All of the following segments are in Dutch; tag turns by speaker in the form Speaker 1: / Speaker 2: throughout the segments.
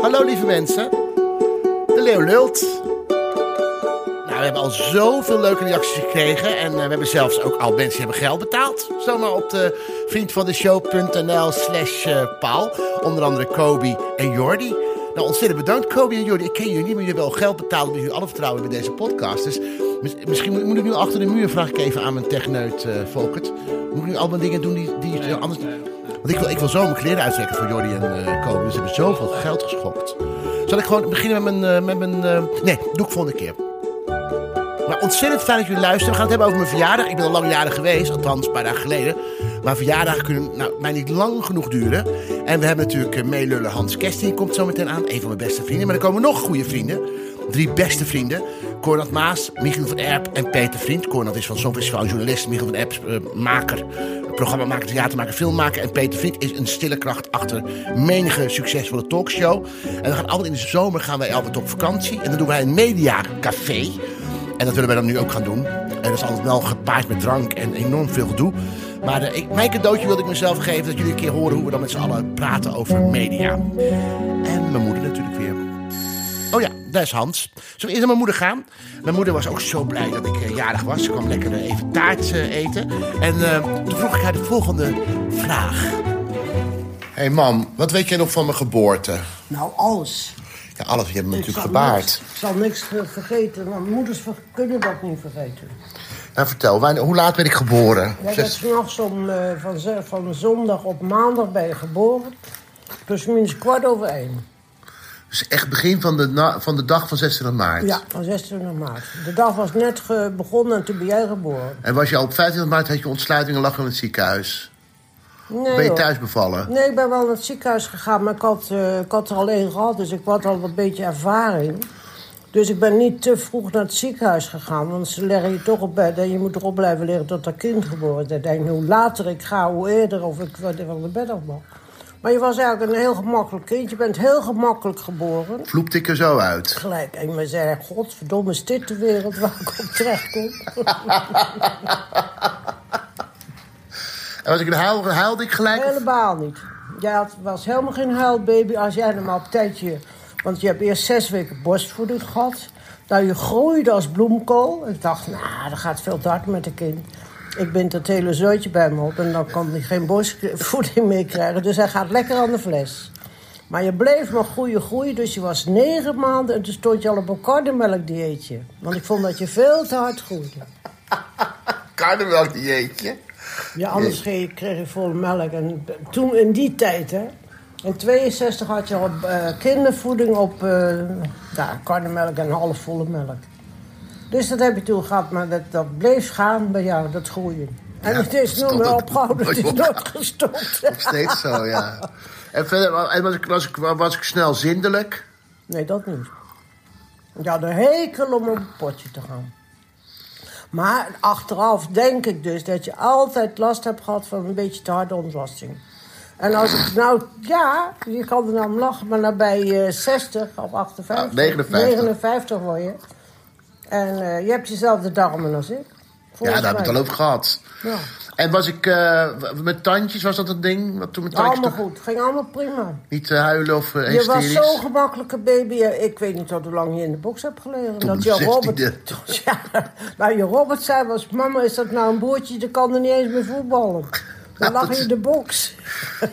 Speaker 1: Hallo lieve mensen. De leeuw lult. Nou, we hebben al zoveel leuke reacties gekregen. En eh, we hebben zelfs ook al mensen die hebben geld betaald. Zomaar op de vriendvandeshow.nl slash eh, paal. Onder andere Kobe en Jordi. Nou, ontzettend bedankt Kobe en Jordi. Ik ken jullie niet, maar jullie hebben al geld betaald... omdat jullie alle vertrouwen hebben in deze podcast. Dus mis- misschien moet, moet ik nu achter de muur, vraag ik even aan mijn techneut eh Volkert. Moet ik nu allemaal dingen doen die, die eh, anders... Want ik wil, ik wil zo mijn kleren uittrekken voor Jordi en eh Kobe. Dus ze hebben zoveel geld geschopt. Zal ik gewoon beginnen met mijn... eh, met mijn eh, Nee, doe ik volgende keer. Maar ontzettend fijn dat jullie luisteren. We gaan het hebben over mijn verjaardag. Ik ben al lang jarig geweest, althans een paar dagen geleden. Maar verjaardagen kunnen nou, mij niet lang genoeg duren. En we hebben natuurlijk eh, meelullen Hans Kesting, komt zo meteen aan. Een van mijn beste vrienden. Maar er komen nog goede vrienden. Drie beste vrienden. Cornat Maas, Michiel van Erp en Peter Vriend. Cornat is van Songfestival journalist. Michiel van Erp is eh, maker, programmamaker, theatermaker, filmmaker. En Peter Vriend is een stille kracht achter menige succesvolle talkshow. En we gaan altijd in de zomer gaan wij altijd op vakantie. En dan doen wij een mediacafé. En dat willen wij dan nu ook gaan doen. En dat is altijd wel gepaard met drank en enorm veel gedoe. Maar eh, ik, mijn cadeautje wilde ik mezelf geven. Dat jullie een keer horen hoe we dan met z'n allen praten over media. En mijn moeder natuurlijk weer. Oh ja, daar is Hans. Zullen we eerst naar mijn moeder gaan? Mijn moeder was ook zo blij dat ik eh, jarig was. Ze kwam lekker eh, even taart eh, eten. En eh, toen vroeg ik haar de volgende vraag. Hé hey mam, wat weet jij nog van mijn geboorte?
Speaker 2: Nou, alles.
Speaker 1: Ja, alles. Je hebt me
Speaker 2: zal
Speaker 1: natuurlijk gebaard.
Speaker 2: niks- Ik zal niks ver- vergeten, want moeders ver- kunnen dat niet vergeten.
Speaker 1: Nou, vertel, wanneer- hoe laat ben ik geboren?
Speaker 2: Jij bent
Speaker 1: Zes-
Speaker 2: s'nachts om, eh, van, z- van zondag op maandag bij je geboren. Dus minstens kwart over één.
Speaker 1: Dus echt begin van de, na- van de dag van 26 maart.
Speaker 2: Ja, van 26 maart. De dag was net ge- begonnen en toen ben jij geboren.
Speaker 1: En was je al op 25 maart, had je ontsluiting en lag je in het ziekenhuis.
Speaker 2: Nee,
Speaker 1: ben je
Speaker 2: hoor.
Speaker 1: thuis bevallen?
Speaker 2: Nee, ik ben wel naar het ziekenhuis gegaan, maar ik had, eh, ik had er al één gehad, dus ik had al een beetje ervaring. Dus ik ben niet te vroeg naar het ziekenhuis gegaan, want ze leggen je toch op bed en je moet erop blijven liggen tot dat kind geboren is. Ik denk, hoe later ik ga, hoe eerder of ik wel- van de bed af mag. Maar je was eigenlijk een heel gemakkelijk kind. Je bent heel gemakkelijk geboren.
Speaker 1: Vloept ik er zo uit?
Speaker 2: Gelijk. En je zei, godverdomme, is dit de wereld waar ik op terecht kom?
Speaker 1: En was ik een huil, huilde ik gelijk? of-
Speaker 2: Helemaal niet. Jij had, was helemaal geen huilbaby als jij hem op tijdje... Want je hebt eerst zes weken borstvoeding gehad. Nou, je groeide als bloemkool. Ik dacht, nou, dat gaat veel te hard met een kind. Ik bind dat hele zootje bij me op en dan kan hij geen borstvoeding meer krijgen. Dus hij gaat lekker aan de fles. Maar je bleef maar groeien, groeien. Dus je was negen maanden en toen stond je al op een kardemelkdieetje. Want ik vond dat je veel te hard groeide.
Speaker 1: Karnemelk dieetje.
Speaker 2: Ja, anders kreeg je, kreeg je volle melk. En toen in die tijd, hè. In 62 had je al eh, kindervoeding op eh ja, karnemelk en halfvolle melk. Dus dat heb je toen gehad, maar dat, dat bleef gaan bij jou, dat groeien. En
Speaker 1: Ja,
Speaker 2: het is
Speaker 1: dat
Speaker 2: nooit meer
Speaker 1: stond-
Speaker 2: opgehouden, het is
Speaker 1: Nooit
Speaker 2: nooit
Speaker 1: opgehouden.
Speaker 2: gestopt.
Speaker 1: Nog steeds zo, ja. En verder, en was, ik, was, ik, was ik snel zindelijk?
Speaker 2: Nee, dat niet. Ik had een hekel om op een potje te gaan. Maar achteraf denk ik dus dat je altijd last hebt gehad van een beetje te harde ontlasting. En als ik nou, ja, je kan er nou om lachen, maar dan bij eh, 60 of 58.
Speaker 1: Ah, 59.
Speaker 2: 59 word je. En eh, je hebt dezelfde darmen als ik.
Speaker 1: ja,
Speaker 2: Volgens
Speaker 1: daar heb ik het al
Speaker 2: mij.
Speaker 1: over gehad.
Speaker 2: Ja.
Speaker 1: En was ik eh, w- met tandjes, was dat een ding? Wat toen met tandjes
Speaker 2: Nou, Allemaal
Speaker 1: toch
Speaker 2: goed, ging allemaal prima.
Speaker 1: niet eh, huilen of eh,
Speaker 2: Je was
Speaker 1: hysterisch?
Speaker 2: zo'n gemakkelijke baby. Ik weet niet tot hoe lang je in de box hebt gelegen.
Speaker 1: Tot
Speaker 2: dat
Speaker 1: de
Speaker 2: je Robert,
Speaker 1: 16e.
Speaker 2: tot- ja, nou, je Robert zei was... Mama, is dat nou een boertje? Die kan er niet eens meer voetballen. Dan
Speaker 1: Nou,
Speaker 2: lag
Speaker 1: dat
Speaker 2: je
Speaker 1: is-
Speaker 2: in de box.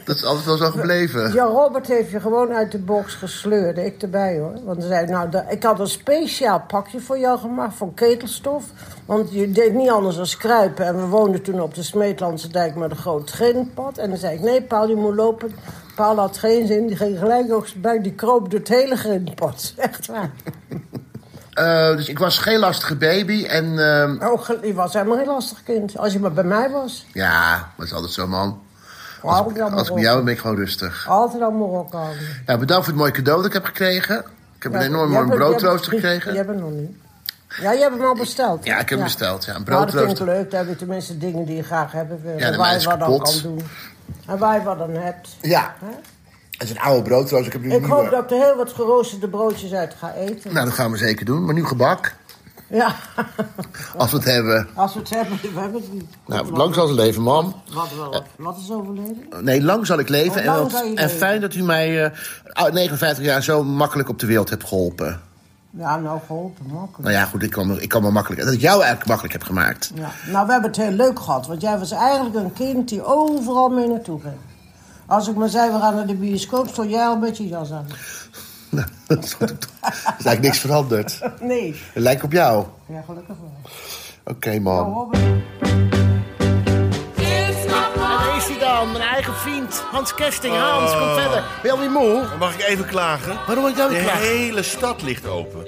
Speaker 1: Dat is altijd wel zo gebleven.
Speaker 2: Ja, Robert heeft je gewoon uit de box gesleurd. Ik erbij hoor. Want hij zei, nou, da- ik had een speciaal pakje voor jou gemaakt van ketelstof. Want je deed niet anders dan kruipen. En we woonden toen op de Smeetlandse dijk met een groot grindpad. En dan zei ik, nee, Paul, je moet lopen. Paul had geen zin. Die ging gelijk ook bij. Die kroop door het hele grindpad. Echt waar.
Speaker 1: Eh, dus ik was geen lastige baby en... ehm,
Speaker 2: Oh, ge- je was helemaal geen lastig kind. Als je maar bij mij was.
Speaker 1: Ja, maar het is altijd zo, man.
Speaker 2: Altijd
Speaker 1: Als,
Speaker 2: aan
Speaker 1: als ik
Speaker 2: Marokko.
Speaker 1: met jou ben, ben ik gewoon rustig.
Speaker 2: Altijd aan Marokko houden.
Speaker 1: Nou, bedankt voor het mooie cadeau dat ik heb gekregen. Ik heb een enorm warm broodrooster
Speaker 2: Je
Speaker 1: gekregen.
Speaker 2: hebt hem nog niet. Ja, je hebt hem al besteld.
Speaker 1: Ja, ik heb hem besteld, ja, een
Speaker 2: Maar dat vind ik
Speaker 1: broodrooster.
Speaker 2: leuk. Dan heb je tenminste dingen die je graag hebben wil.
Speaker 1: Ja, de
Speaker 2: en waar
Speaker 1: mijne
Speaker 2: je
Speaker 1: is
Speaker 2: wat aan
Speaker 1: kapot.
Speaker 2: kan doen. En waar je wat aan hebt.
Speaker 1: Ja,
Speaker 2: Hè?
Speaker 1: het is een oude broodrooster. Ik heb nu een
Speaker 2: Ik hoop
Speaker 1: nieuwe.
Speaker 2: dat er heel wat geroosterde broodjes uit ga eten.
Speaker 1: Nou, dat gaan we zeker doen. Maar nu gebak.
Speaker 2: Ja,
Speaker 1: Als we het hebben.
Speaker 2: als we het hebben, we hebben het niet.
Speaker 1: Nou, lang zal ze leven, mam.
Speaker 2: Wat, wel, wat is overleden?
Speaker 1: Nee, lang zal ik leven. en,
Speaker 2: Oh, lang
Speaker 1: wat-
Speaker 2: zal je
Speaker 1: en
Speaker 2: leven.
Speaker 1: fijn dat u mij eh, ah, 59 jaar zo makkelijk op de wereld hebt geholpen.
Speaker 2: Ja, nou geholpen, makkelijk.
Speaker 1: Nou ja, goed, ik kan, me- ik kan me makkelijk... Dat ik jou eigenlijk makkelijk heb gemaakt.
Speaker 2: Ja. Nou, we hebben het heel leuk gehad, want jij was eigenlijk een kind die overal mee naartoe ging. Als ik maar zei, we gaan naar de bioscoop, stond jij al met je jas aan.
Speaker 1: Nou, dat is goed. Er is eigenlijk niks veranderd.
Speaker 2: Nee.
Speaker 1: Het lijkt op jou.
Speaker 2: Ja, gelukkig wel.
Speaker 1: Oké, mam.
Speaker 2: Nou, Robin.
Speaker 1: Daar is hij dan, mijn eigen vriend, Hans Kesting. Hans, kom verder. Ben je alweer moe?
Speaker 3: Oh. Mag ik even klagen?
Speaker 1: Waarom word jij
Speaker 3: De
Speaker 1: weer klaar?
Speaker 3: hele stad ligt open.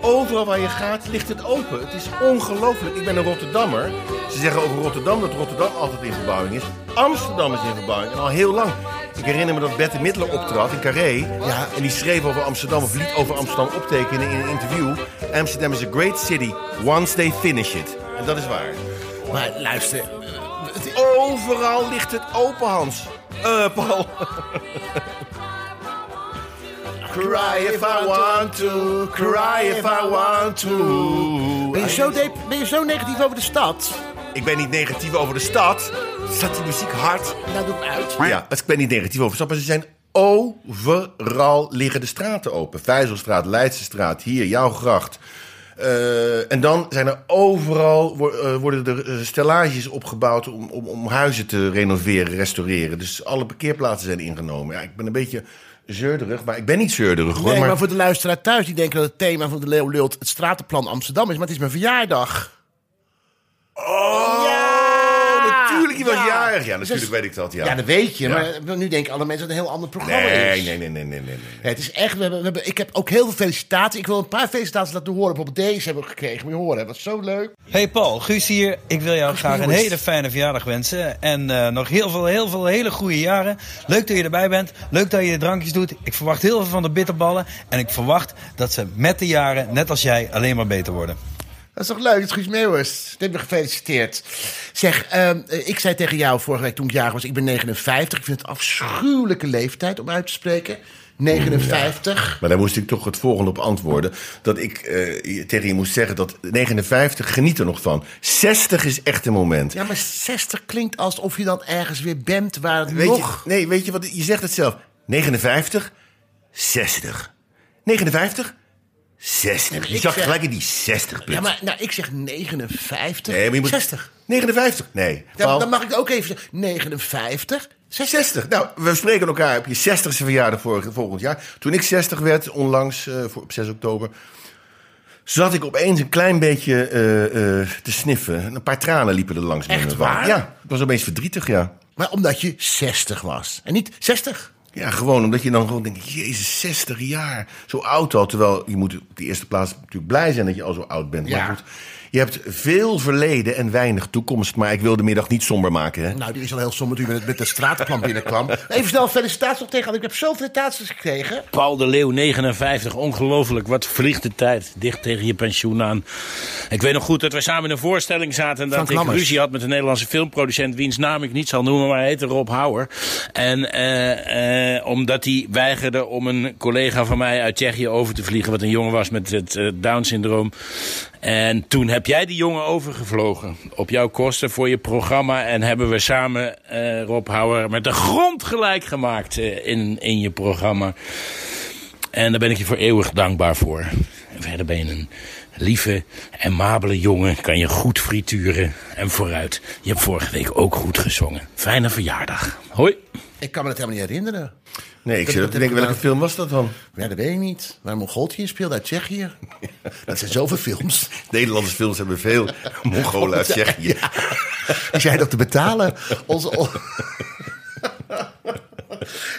Speaker 3: Overal waar je gaat ligt het open. Het is ongelooflijk. Ik ben een Rotterdammer. Ze zeggen over Rotterdam dat Rotterdam altijd in verbouwing is. Amsterdam is in verbouwing en al heel lang. Ik herinner me dat Bette Midler optrad in Carré.
Speaker 1: Ja.
Speaker 3: En die schreef over Amsterdam of liet over Amsterdam optekenen in een interview. Amsterdam is a great city once they finish it. En dat is waar.
Speaker 1: Maar luister, eh, het-
Speaker 3: Overal ligt het open, Hans. Eh, Paul. cry if I want to, cry if I want to.
Speaker 1: ben je, zo de- ben je zo negatief over de stad?
Speaker 3: Ik ben niet negatief over de stad. Staat die muziek hard?
Speaker 1: Nou, doe het uit.
Speaker 3: Ja, ik ben niet negatief over de stad, maar ze zijn overal liggen de straten open. Vijzelstraat, Leidsestraat, hier, jouw gracht. Eh, en dan zijn er overal wo- eh, worden er eh, stellages opgebouwd om, om, om huizen te renoveren, restaureren. Dus alle parkeerplaatsen zijn ingenomen. Ja, ik ben een beetje zeurderig, maar ik ben niet zeurderig hoor.
Speaker 1: Nee, maar
Speaker 3: maar
Speaker 1: voor de luisteraar thuis, die denken dat het thema van de Leeuw Lult het stratenplan Amsterdam is. Maar het is mijn verjaardag.
Speaker 3: Oh, natuurlijk, je was
Speaker 1: Ja.
Speaker 3: jarig. Ja,
Speaker 1: Dus-
Speaker 3: natuurlijk weet ik dat, ja.
Speaker 1: Ja, dat weet je.
Speaker 3: Ja.
Speaker 1: Maar nu denken alle mensen dat het een heel ander programma
Speaker 3: nee,
Speaker 1: is.
Speaker 3: nee, nee, nee, nee, nee, nee.
Speaker 1: Ja, het is echt, we hebben, we hebben, ik heb ook heel veel felicitaties. Ik wil een paar felicitaties laten horen. Bijvoorbeeld deze hebben we gekregen. Moet je horen, dat was zo leuk.
Speaker 4: Hey Paul, Guus hier. Ik wil jou graag een hele fijne verjaardag wensen. En eh, nog heel veel, heel veel hele goede jaren. Leuk dat je erbij bent. Leuk dat je de drankjes doet. Ik verwacht heel veel van de bitterballen. En ik verwacht dat ze met de jaren, net als jij, alleen maar beter worden.
Speaker 1: Dat is toch leuk, dat is Guus Meeuwers. Dit hebben we gefeliciteerd. Zeg, ehm, eh, ik zei tegen jou vorige week toen ik jarig was... ik ben 59, ik vind het een afschuwelijke leeftijd om uit te spreken. 59.
Speaker 3: Maar daar moest ik toch het volgende op antwoorden. Dat ik eh, tegen je moest zeggen dat 59 geniet er nog van. 60 is echt een moment.
Speaker 1: Ja, maar 60 klinkt alsof je dan ergens weer bent waar het
Speaker 3: weet
Speaker 1: nog...
Speaker 3: Je, nee, weet je wat? Je zegt het zelf. 59, 60. 59, 60. Je
Speaker 1: Ik
Speaker 3: zag
Speaker 1: zeg-
Speaker 3: gelijk in die 60 punt.
Speaker 1: Ja, maar nou, ik zeg 59,
Speaker 3: Nee, maar je moet-
Speaker 1: 60.
Speaker 3: 59? Nee.
Speaker 1: Dan,
Speaker 3: Paul.
Speaker 1: dan mag ik ook even zeggen, 59, 60.
Speaker 3: 60. Nou, we spreken elkaar op je 60ste verjaardag vorig- volgend jaar. Toen ik 60 werd, onlangs eh, voor, op 6 oktober, zat ik opeens een klein beetje eh, eh, te sniffen. Een paar tranen liepen er langs.
Speaker 1: Echt
Speaker 3: mijn wang.
Speaker 1: waar?
Speaker 3: Ja, ik was opeens verdrietig, ja.
Speaker 1: Maar omdat je 60 was. En niet 60.
Speaker 3: Ja, gewoon omdat je dan gewoon denkt, jezus, 60 jaar, zo oud al. Terwijl je moet op de eerste plaats natuurlijk blij zijn dat je al zo oud bent.
Speaker 1: Ja.
Speaker 3: Maar goed, je hebt veel verleden en weinig toekomst. Maar ik wil de middag niet somber maken, hè.
Speaker 1: Nou, die is al heel somber toen je met, met de straatplan binnenkwam. Even snel felicitaties nog tegen. want Ik heb zoveel felicitaties gekregen.
Speaker 5: Paul de Leeuw, 59. Ongelooflijk, wat vliegt de tijd dicht tegen je pensioen aan. Ik weet nog goed dat wij samen in een voorstelling zaten... en dat
Speaker 1: Frank
Speaker 5: ik
Speaker 1: Lammers.
Speaker 5: ruzie had met een Nederlandse filmproducent... wiens naam ik niet zal noemen, maar hij heette Rob Houwer. En eh, eh, omdat hij weigerde om een collega van mij uit Tsjechië over te vliegen... wat een jongen was met het eh, Down-syndroom. En toen heb jij die jongen overgevlogen op jouw kosten voor je programma. En hebben we samen eh, Rob Houwer met de grond gelijk gemaakt eh, in, in je programma. En daar ben ik je voor eeuwig dankbaar voor. En verder ben je een lieve, amabele jongen. Kan je goed frituren en vooruit. Je hebt vorige week ook goed gezongen. Fijne verjaardag. Hoi.
Speaker 1: Ik kan me dat helemaal niet herinneren.
Speaker 3: Nee, ik
Speaker 1: Dat- dat
Speaker 3: zit ook te
Speaker 1: heb ik
Speaker 3: denken, welke
Speaker 1: nou-
Speaker 3: film was dat dan?
Speaker 1: Ja, dat weet ik niet. Waar Mongooltje in speelde uit Tsjechië. Dat zijn zoveel films.
Speaker 3: Nederlandse films hebben veel Mongolen uit Tsjechië.
Speaker 1: Die zijn dat te betalen. Onze, on-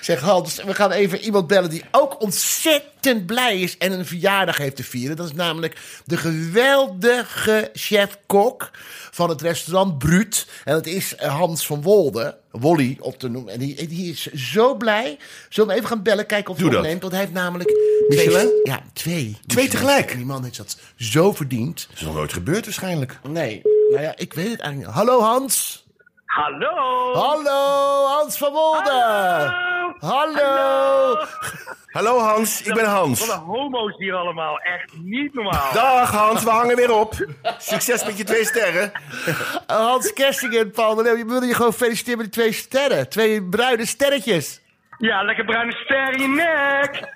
Speaker 1: zeg Hans, dus we gaan even iemand bellen die ook ontzettend blij is en een verjaardag heeft te vieren. Dat is namelijk de geweldige chef-kok van het restaurant Bruut. En dat is eh, Hans van Wolde, Wolly op te noemen. En die, die is zo blij. Zullen we hem even gaan bellen, kijken of hij
Speaker 3: Doe dat.
Speaker 1: opneemt? Want hij heeft namelijk
Speaker 3: Michelin?
Speaker 1: twee... Ja, twee.
Speaker 3: Twee tegelijk?
Speaker 1: En die man heeft dat zo verdiend.
Speaker 3: Dat is nog nooit gebeurd waarschijnlijk.
Speaker 1: Nee, nou ja, ik weet het eigenlijk niet. Hallo Hans.
Speaker 6: Hallo!
Speaker 1: Hallo, Hans van Wolde.
Speaker 6: Hallo!
Speaker 1: Hallo.
Speaker 3: Hallo Hans, ik ben
Speaker 6: Wat
Speaker 3: Hans.
Speaker 6: een homo's hier allemaal. Echt niet normaal.
Speaker 3: Dag Hans, we hangen weer op. Succes met je twee sterren.
Speaker 1: Eh, Hans Kersting en Paul de Leeuw. Je wilde je gewoon feliciteren met die twee sterren. Twee bruine sterretjes.
Speaker 6: Ja, lekker bruine ster in je nek.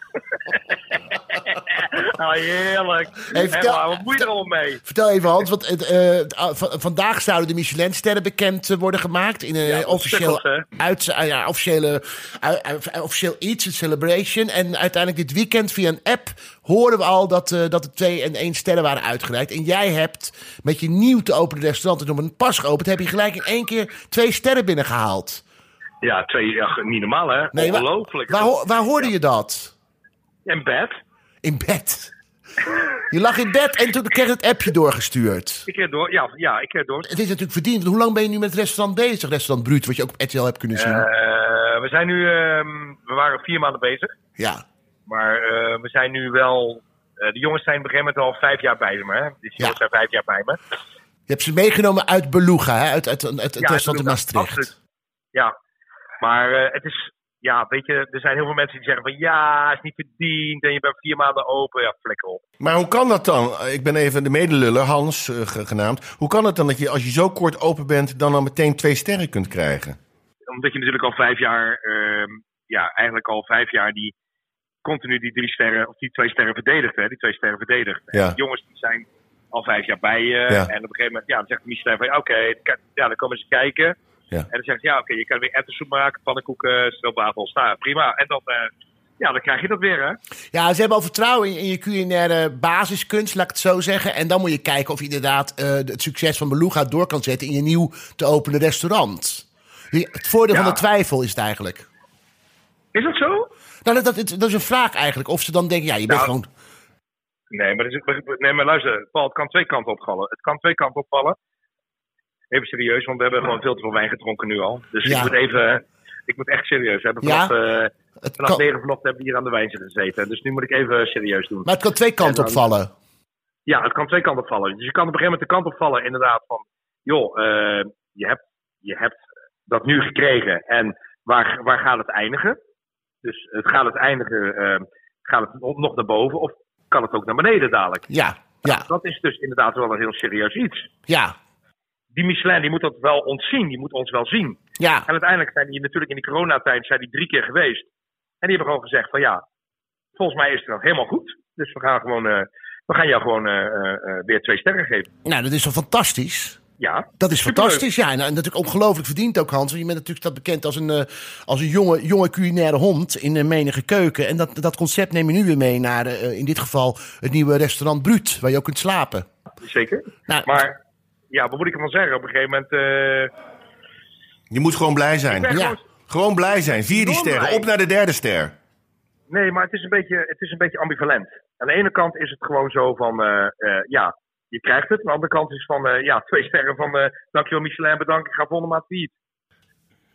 Speaker 6: oh, heerlijk.
Speaker 1: Hey, vertel-
Speaker 6: Echt waar, wat moet je er allemaal mee?
Speaker 1: Vertel even Hans, want het, eh, het, ah, v- vandaag zouden de Michelinsterren bekend eh, worden gemaakt in een
Speaker 6: wat
Speaker 1: officieel,
Speaker 6: sukkels,
Speaker 1: uit, ah, ja, officiële, ui- ui- officieel iets, een celebration. En uiteindelijk dit weekend via een app horen we al dat, eh, dat er twee en één sterren waren uitgereikt. En jij hebt met je nieuw te openen restaurant, het nog een pas geopend, heb je gelijk in één keer twee sterren binnengehaald.
Speaker 6: Ja, twee, ja, niet normaal hè?
Speaker 1: wa-
Speaker 6: Ongelooflijk.
Speaker 1: Waar, ho- waar hoorde je dat?
Speaker 6: En bed.
Speaker 1: In bed. Je lag in bed en toen kreeg je het appje doorgestuurd.
Speaker 6: Ik keer door. Ja, ja ik keer door.
Speaker 1: Het is natuurlijk verdiend. want Hoe lang ben je nu met het restaurant bezig? Restaurant Bruut, wat je ook op RTL hebt kunnen zien.
Speaker 6: Eh, we zijn nu, ehm, we waren vier maanden bezig.
Speaker 1: ja.
Speaker 6: Maar eh, we zijn nu wel. eh, de jongens zijn op een gegeven moment al vijf jaar bij me. Hè? Die
Speaker 1: Ja.
Speaker 6: jongens zijn vijf jaar bij me.
Speaker 1: Je hebt ze meegenomen uit Beluga, hè? uit, uit, uit, uit het
Speaker 6: Ja,
Speaker 1: restaurant in
Speaker 6: natuurlijk,
Speaker 1: Maastricht.
Speaker 6: absoluut. Ja, maar eh, het is, ja, weet je, er zijn heel veel mensen die zeggen van ja, is niet verdiend en je bent vier maanden open. Ja, flikker op.
Speaker 3: Maar hoe kan dat dan? Ik ben even de medeluller, Hans eh, ge- genaamd. Hoe kan het dan dat je als je zo kort open bent, dan al meteen twee sterren kunt krijgen?
Speaker 6: Omdat je natuurlijk al vijf jaar, ehm, ja, eigenlijk al vijf jaar die continu die drie sterren, of die twee sterren verdedigt, hè, die twee sterren verdedigt. En
Speaker 3: Ja.
Speaker 6: die jongens die zijn al vijf jaar bij je.
Speaker 3: Ja.
Speaker 6: En op een gegeven moment, ja, dan zegt de minister van, ja, oké, ka- ja, dan komen ze kijken.
Speaker 3: Ja.
Speaker 6: En dan zegt ze, ja, oké, je kan weer ettensoep maken, pannenkoeken, stroopwafels, nou, prima. En dan, eh, ja, dan krijg je dat weer, hè.
Speaker 1: Ja, ze hebben al vertrouwen in, in je culinaire basiskunst, laat ik het zo zeggen. En dan moet je kijken of je inderdaad eh, het succes van Beluga door kan zetten in je nieuw te openen restaurant. Je- Het voordeel
Speaker 6: Ja.
Speaker 1: van de twijfel is het eigenlijk.
Speaker 6: Is dat zo?
Speaker 1: Nou, dat, dat, dat is een vraag eigenlijk. Of ze dan denken, ja, je bent
Speaker 6: Nou,
Speaker 1: gewoon...
Speaker 6: Nee, maar, dat is- maar- nee, maar luister, Paul, het kan twee kanten opvallen. Het kan twee kanten opvallen. Even serieus, want we hebben gewoon veel te veel wijn gedronken nu al. Dus
Speaker 1: Ja.
Speaker 6: ik moet even, ik moet echt serieus hebben.
Speaker 1: Ja?
Speaker 6: Vanaf, eh
Speaker 1: Het
Speaker 6: vanaf
Speaker 1: kan-
Speaker 6: negen vanochtend hebben we hier aan de wijn zitten gezeten. Dus nu moet ik even serieus doen.
Speaker 1: maar het kan twee kanten
Speaker 6: Ja, dan-
Speaker 1: opvallen.
Speaker 6: Ja, het kan twee kanten opvallen. Dus je kan op een gegeven moment de kant opvallen inderdaad van... joh, eh, je, hebt, je hebt dat nu gekregen en waar, waar gaat het eindigen? Dus het gaat het eindigen, eh, gaat het nog naar boven of kan het ook naar beneden dadelijk?
Speaker 1: Ja, ja,
Speaker 6: Dat is dus inderdaad wel een heel serieus iets.
Speaker 1: ja,
Speaker 6: Die Michelin die moet dat wel ontzien, die moet ons wel zien.
Speaker 1: ja.
Speaker 6: En uiteindelijk zijn die natuurlijk in de coronatijd zijn die drie keer geweest. En die hebben gewoon gezegd van ja, volgens mij is het nog helemaal goed. Dus we gaan, gewoon, eh, we gaan jou gewoon eh, eh, eh, weer twee sterren geven.
Speaker 1: Nou, dat is toch fantastisch?
Speaker 6: Ja,
Speaker 1: Dat is
Speaker 6: Superleuk.
Speaker 1: fantastisch, ja. En, en natuurlijk ongelooflijk verdiend ook, Hans. Want je bent natuurlijk dat bekend als een, eh, als een jonge, jonge culinaire hond in een menige keuken. En dat, dat concept neem je nu weer mee naar, eh, in dit geval, het nieuwe restaurant Bruut. Waar je ook kunt slapen.
Speaker 6: zeker.
Speaker 1: Nou,
Speaker 6: Maar ja, wat moet ik ervan zeggen? Op een gegeven moment... eh,
Speaker 3: Je moet gewoon blij
Speaker 6: ben
Speaker 3: zijn.
Speaker 1: Ja.
Speaker 6: gewoon-
Speaker 3: Gewoon blij zijn. Vier die
Speaker 6: Enorm
Speaker 3: sterren,
Speaker 6: blij.
Speaker 3: op naar de derde ster.
Speaker 6: Nee, maar het is, een beetje, het is een beetje ambivalent. Aan de ene kant is het gewoon zo van, eh, eh, ja, je krijgt het. Aan de andere kant is van, eh, ja, twee sterren van, eh dankjewel Michelin, bedankt, ik ga volgende maand niet.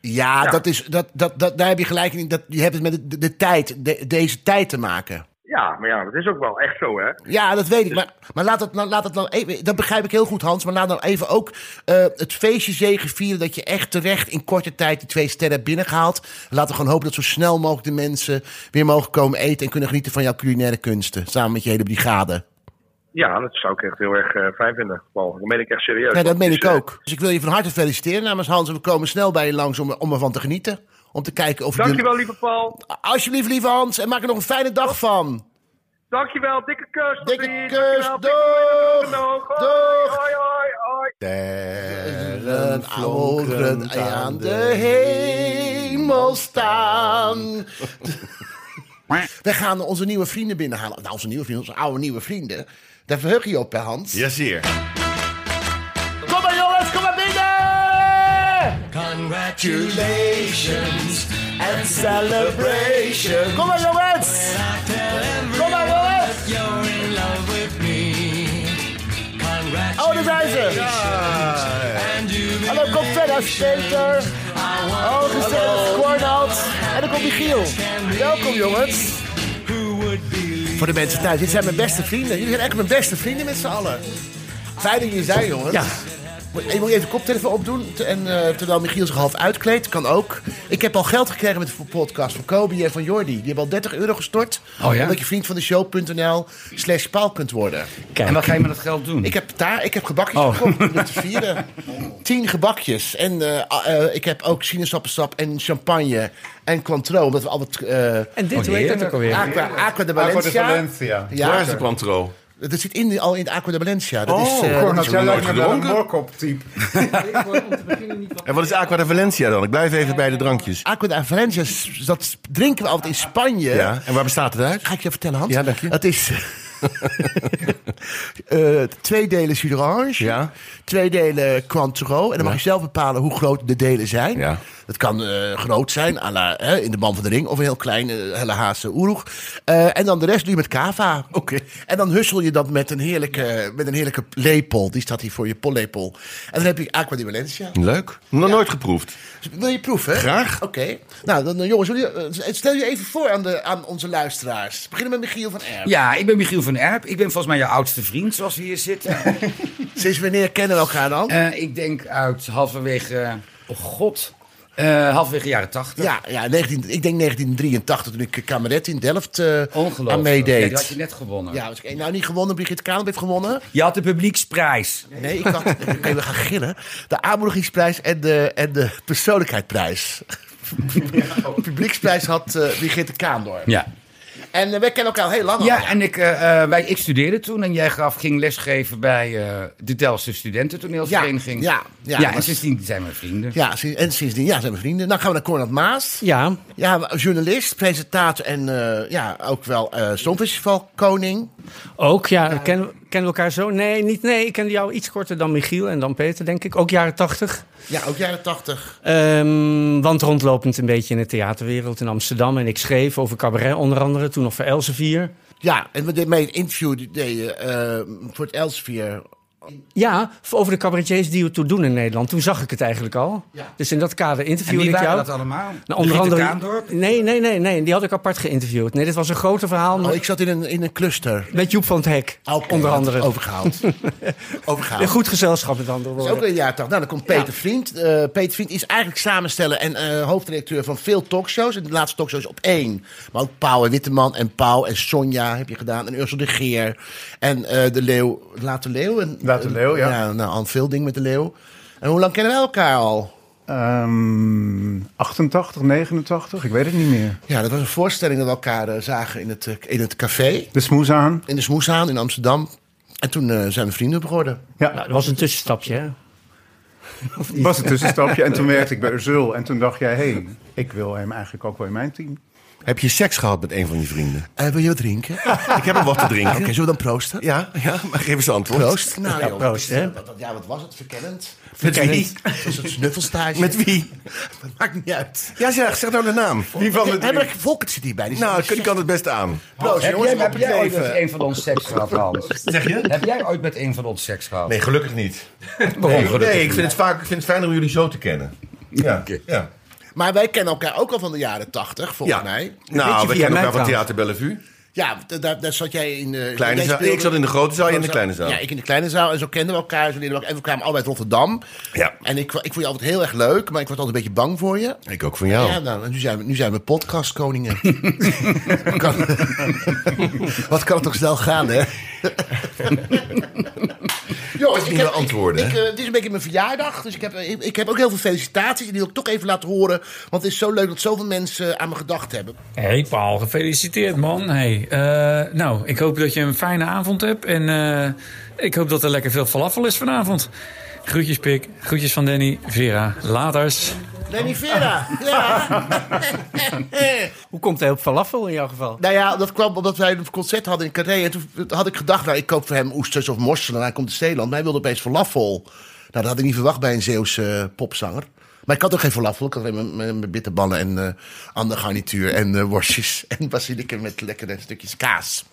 Speaker 1: ja,
Speaker 6: Ja.
Speaker 1: Dat is, dat, dat, dat, daar heb je gelijk in. Dat, je hebt het met de, de, de tijd, de- deze tijd te maken.
Speaker 6: Ja, maar ja, dat is ook wel echt zo, hè?
Speaker 1: Ja, dat weet ik. Maar, maar laat, dat, nou- laat dat dan even. Dat begrijp ik heel goed, Hans. Maar laat dan even ook eh, het feestje zegen vieren. Dat je echt terecht in korte tijd die twee sterren hebt binnengehaald. Laten we gewoon hopen dat zo snel mogelijk de mensen weer mogen komen eten. En kunnen genieten van jouw culinaire kunsten. Samen met je hele brigade.
Speaker 6: Ja, dat zou ik echt heel erg eh, fijn vinden. Paul. Dat meen ik echt serieus.
Speaker 1: Nee, dat meen
Speaker 6: Dus,
Speaker 1: ik
Speaker 6: eh,
Speaker 1: ook. Dus ik wil je van harte feliciteren namens Hans. En we komen snel bij je langs om, om ervan te genieten. Om te kijken of jullie-
Speaker 6: Dankjewel, lieve Paul.
Speaker 1: Alsjeblieft, lieve Hans. En maak er nog een fijne dag van.
Speaker 6: Dankjewel, dikke kus. tot
Speaker 1: Dikke
Speaker 6: ziens.
Speaker 1: kus.
Speaker 6: Dankjewel, dikke
Speaker 1: Doeg.
Speaker 6: knoop. Hoi,
Speaker 1: Doeg.
Speaker 6: Hoi, hoi, hoi.
Speaker 1: Sterren vlogen aan de hemel staan. We gaan onze nieuwe vrienden binnenhalen. Nou, onze nieuwe vrienden, onze oude nieuwe vrienden. Daar verheug je je op, hè, Hans?
Speaker 3: Jazeer.
Speaker 1: Kom maar, jongens, kom maar binnen!
Speaker 7: Congratulations and celebration.
Speaker 1: Kom maar, jongens! Kom maar, jongens!
Speaker 7: You're in love with me. Congratulations.
Speaker 1: Oh, daar zijn ze! Hallo, kom verder, Peter. Oh, gezellig, Cornald. En dan komt Michiel. Welkom, jongens.
Speaker 7: Who would believe?
Speaker 1: Voor de mensen thuis, dit zijn mijn beste vrienden. Jullie zijn echt mijn beste vrienden met z'n allen. Fijn dat jullie zijn, jongens.
Speaker 8: Ja.
Speaker 1: Moet- Je moet even koptelefoon opdoen. te- En eh, terwijl Michiel zich half uitkleedt, kan ook. Ik heb al geld gekregen met de podcast van Kobi en van Jordi. Die hebben al 30 euro gestort.
Speaker 8: Oh ja?
Speaker 1: Omdat je vriend van de show.nl slash paal kunt worden.
Speaker 8: En wat ga je met dat geld doen?
Speaker 1: Ik heb, daar, ik heb gebakjes
Speaker 8: Oh.
Speaker 1: gekocht om het te vieren. Tien gebakjes. En eh, ah, eh, ik heb ook sinaasappelsap en champagne en Cointreau. Omdat we altijd eh
Speaker 9: En dit,
Speaker 8: Oh,
Speaker 9: hoe heet dat ook
Speaker 8: heerlijk.
Speaker 9: alweer?
Speaker 1: Aqua, Aqua de
Speaker 10: Aqua de
Speaker 1: Valencia...
Speaker 10: Valencia.
Speaker 1: Ja,
Speaker 3: Waar is de Quantro?
Speaker 1: dat zit in, al in de Aqua de Valencia. Dat is, eh,
Speaker 10: Gewoon als jij
Speaker 3: nooit
Speaker 10: lijkt me wel een
Speaker 3: gedronken.
Speaker 10: morkop-type.
Speaker 3: En wat is Aqua de Valencia dan? Ik blijf
Speaker 6: Eh.
Speaker 3: even bij de drankjes.
Speaker 1: Aqua de Valencia, s- dat drinken we altijd in Spanje.
Speaker 3: Ja, en waar bestaat het uit?
Speaker 1: Ga ik je vertellen, Hans?
Speaker 3: Ja, dank je.
Speaker 1: Dat is eh, twee delen Sudorange,
Speaker 3: Ja.
Speaker 1: twee delen Cointreau. En dan mag je zelf bepalen hoe groot de delen zijn.
Speaker 3: Ja.
Speaker 1: Dat kan eh, groot zijn, à la, hè, in de man van de ring. Of een heel klein, eh, helle haase oeroeg. Eh, en dan de rest doe je met kava.
Speaker 3: Oké.
Speaker 1: En dan hussel je dat met een heerlijke, met een heerlijke lepel. Die staat hier voor je pollepel. En dan heb je Aqua di Valencia.
Speaker 3: Leuk. Nog nooit geproefd.
Speaker 1: Wil je proeven?
Speaker 3: Graag.
Speaker 1: Oké. Nou, dan eh, jongens, wil je, eh, stel je even voor aan, de, aan onze luisteraars. We beginnen met Michiel van Erp.
Speaker 8: Ja, ik ben Michiel van Erp. Ik ben volgens mij jouw oudste vriend, zoals we hier zitten.
Speaker 1: Sinds wanneer kennen we elkaar dan?
Speaker 8: Eh, ik denk uit halverwege, eh, oh god, eh, halverwege jaren tachtig.
Speaker 1: Ja, ja 19, ik denk 1983 toen ik eh, Kameret in Delft eh,
Speaker 8: Ongelooflijk.
Speaker 1: aan
Speaker 8: Ja, die had je
Speaker 1: meedeed.
Speaker 8: net gewonnen.
Speaker 1: Ja, was ik nou niet gewonnen, Brigitte Kaanop heeft gewonnen.
Speaker 8: Je had de publieksprijs.
Speaker 1: Nee, ik had, oké, we gaan gillen. De aanmoedigingsprijs en de, en de persoonlijkheidsprijs. Publieksprijs had eh Brigitte Kaandorp.
Speaker 8: Ja.
Speaker 1: En eh, wij kennen elkaar al heel lang al.
Speaker 8: Ja, en ik, eh, eh, wij, ik studeerde toen en jij gaf, ging lesgeven bij eh, de Delftse Studententoneelvereniging.
Speaker 1: Ja, ja,
Speaker 8: ja,
Speaker 1: ja,
Speaker 8: en
Speaker 1: was-
Speaker 8: sindsdien zijn we vrienden.
Speaker 1: Ja, sin- en sindsdien ja, zijn we vrienden. Dan gaan we naar Cornel Maas.
Speaker 9: Ja,
Speaker 1: Ja, journalist, presentator en eh, ja, ook wel eh Songfestivalkoning.
Speaker 9: ook. Ja, Kennen, we- kennen we elkaar zo? Nee, niet, nee, ik ken jou iets korter dan Michiel en dan Peter, denk ik. Ook jaren tachtig.
Speaker 1: Ja, ook jaren tachtig.
Speaker 9: Ehm, want rondlopend een beetje in de theaterwereld in Amsterdam. En ik schreef over cabaret onder andere, toen nog voor Elsevier.
Speaker 1: Ja, en we deden mee een interview die deed je, eh, voor het Elsevier.
Speaker 9: Ja, voor- over de cabaretiers die het toe doen in Nederland. Toen zag ik het eigenlijk al.
Speaker 1: Ja.
Speaker 9: Dus in dat kader
Speaker 8: En
Speaker 9: interviewde
Speaker 8: wie
Speaker 9: ik
Speaker 8: waren
Speaker 9: jou.
Speaker 8: dat allemaal?
Speaker 9: Nou, onder
Speaker 8: Brigitte
Speaker 9: andere.
Speaker 8: Kaandorp?
Speaker 9: Nee, nee, nee, nee. Die had ik apart geïnterviewd. Nee, dit was een grote verhaal.
Speaker 1: Oh,
Speaker 9: maar-
Speaker 1: ik zat in een, in een cluster.
Speaker 9: Met Joep van het Hek,
Speaker 1: Oké,
Speaker 9: onder
Speaker 1: dat
Speaker 9: andere.
Speaker 1: is Overgehaald. overgehaald.
Speaker 9: Een goed gezelschap, met andere
Speaker 1: Dat
Speaker 9: woorden.
Speaker 1: is ook weer een jaar tachtig. Nou, dan komt Peter Vriend. Eh, Peter Vriend is eigenlijk samensteller en eh, hoofdredacteur van veel talkshows. En de laatste talkshow is op één. Maar ook Pauw en Witteman en Pauw en Sonja heb je gedaan. En Ursel de Geer. En eh, De Leeuw. Laat De Leeuw. En,
Speaker 10: Laat de Leeuw, ja.
Speaker 1: nou, Anne Vilding met De Leeuw. En hoe lang kennen we elkaar al?
Speaker 10: Ehm 88, 89, ik weet het niet meer.
Speaker 1: Ja, dat was een voorstelling dat we elkaar eh, zagen in het, eh, in het café.
Speaker 10: De smoes aan.
Speaker 1: In de Smoeshaan in Amsterdam. En toen eh, zijn we vrienden geworden.
Speaker 10: Ja,
Speaker 9: Nou, dat was een tussenstapje, hè?
Speaker 10: was een tussenstapje. En toen werkte ik bij Urzul. En toen dacht jij, hé, hey, ik wil hem eigenlijk ook wel in mijn team.
Speaker 3: Heb je seks gehad met een van die vrienden?
Speaker 1: Eh, wil je wat drinken? Oké,
Speaker 3: Ik heb hem wat te drinken.
Speaker 1: zullen we dan proosten?
Speaker 3: Ja, ja, maar geef eens antwoord.
Speaker 1: Proost. Nou,
Speaker 9: Ja,
Speaker 1: joh,
Speaker 9: proost, hè?
Speaker 1: Wat, wat- ja, wat was het? Verkennend.
Speaker 3: Met wie?
Speaker 1: Dat was een snuffelstage.
Speaker 3: Met wie?
Speaker 1: Maakt niet uit.
Speaker 3: Ja, zeg, zeg nou de naam. Wie van de
Speaker 1: Hey, maar
Speaker 3: drie?
Speaker 1: Volkert zit hierbij. Die
Speaker 3: Nou,
Speaker 1: zit-
Speaker 3: ik kan- ik kan het beste aan.
Speaker 1: proost,
Speaker 8: Heb jij,
Speaker 1: jongens.
Speaker 8: heb
Speaker 1: op
Speaker 8: jij
Speaker 1: het
Speaker 8: ooit
Speaker 1: leven.
Speaker 8: met een van ons seks gehad, Hans?
Speaker 3: Zeg je?
Speaker 8: Heb jij ooit met een van ons seks gehad?
Speaker 3: Nee, gelukkig niet.
Speaker 8: Waarom
Speaker 3: Nee,
Speaker 8: gelukkig
Speaker 3: nee, ik
Speaker 8: niet?
Speaker 3: vind het vaak ik vind het fijner om jullie zo te kennen. Ja, ja.
Speaker 1: Maar wij kennen elkaar ook al van de jaren tachtig, volgens
Speaker 3: ja.
Speaker 1: mij.
Speaker 9: Weet
Speaker 3: Nou,
Speaker 9: je
Speaker 3: we
Speaker 9: wie
Speaker 3: kennen
Speaker 9: jij
Speaker 3: elkaar van
Speaker 9: mij
Speaker 3: Theater Bellevue.
Speaker 1: Ja, d- daar, daar zat jij in de...
Speaker 3: Kleine
Speaker 1: jij
Speaker 3: zaal.
Speaker 1: speelde-
Speaker 3: Ik zat in de grote zaal, jij in de kleine zaal.
Speaker 1: Ja, ik in de kleine zaal. En zo kenden we elkaar. Zo leerden we elkaar. En we kwamen allebei uit Rotterdam.
Speaker 3: Ja.
Speaker 1: En ik, ik vond je altijd heel erg leuk, maar ik was altijd een beetje bang voor je.
Speaker 3: Ik ook van jou.
Speaker 1: Ja, nou, nu zijn we, nu zijn we podcastkoningen. kan, wat kan het toch snel gaan, hè? Jongens,
Speaker 3: meer antwoorden,
Speaker 1: Ik,
Speaker 3: hè?
Speaker 1: eh, het is een beetje mijn verjaardag, dus ik heb, eh, ik, ik heb ook heel veel felicitaties. En die wil ik toch even laten horen, want het is zo leuk dat zoveel mensen aan me gedacht hebben.
Speaker 11: Hey Paul, gefeliciteerd man. Hey, eh, nou, ik hoop dat je een fijne avond hebt. En eh, ik hoop dat er lekker veel falafel is vanavond. Groetjes Pik, groetjes van Danny, Vera, laters.
Speaker 1: Lenny Vera, ja.
Speaker 9: Hoe komt hij op falafel in jouw geval?
Speaker 1: Nou ja, dat kwam omdat wij een concert hadden in Carré. En toen had ik gedacht, nou, ik koop voor hem oesters of morselen. En hij komt uit Zeeland. Maar hij wilde opeens falafel. Nou, dat had ik niet verwacht bij een Zeeuwse eh, popzanger. Maar ik had ook geen falafel. Ik had alleen mijn- mijn mijn bitterballen en eh andere garnituur. En eh, worstjes en basilikum met lekkere stukjes kaas.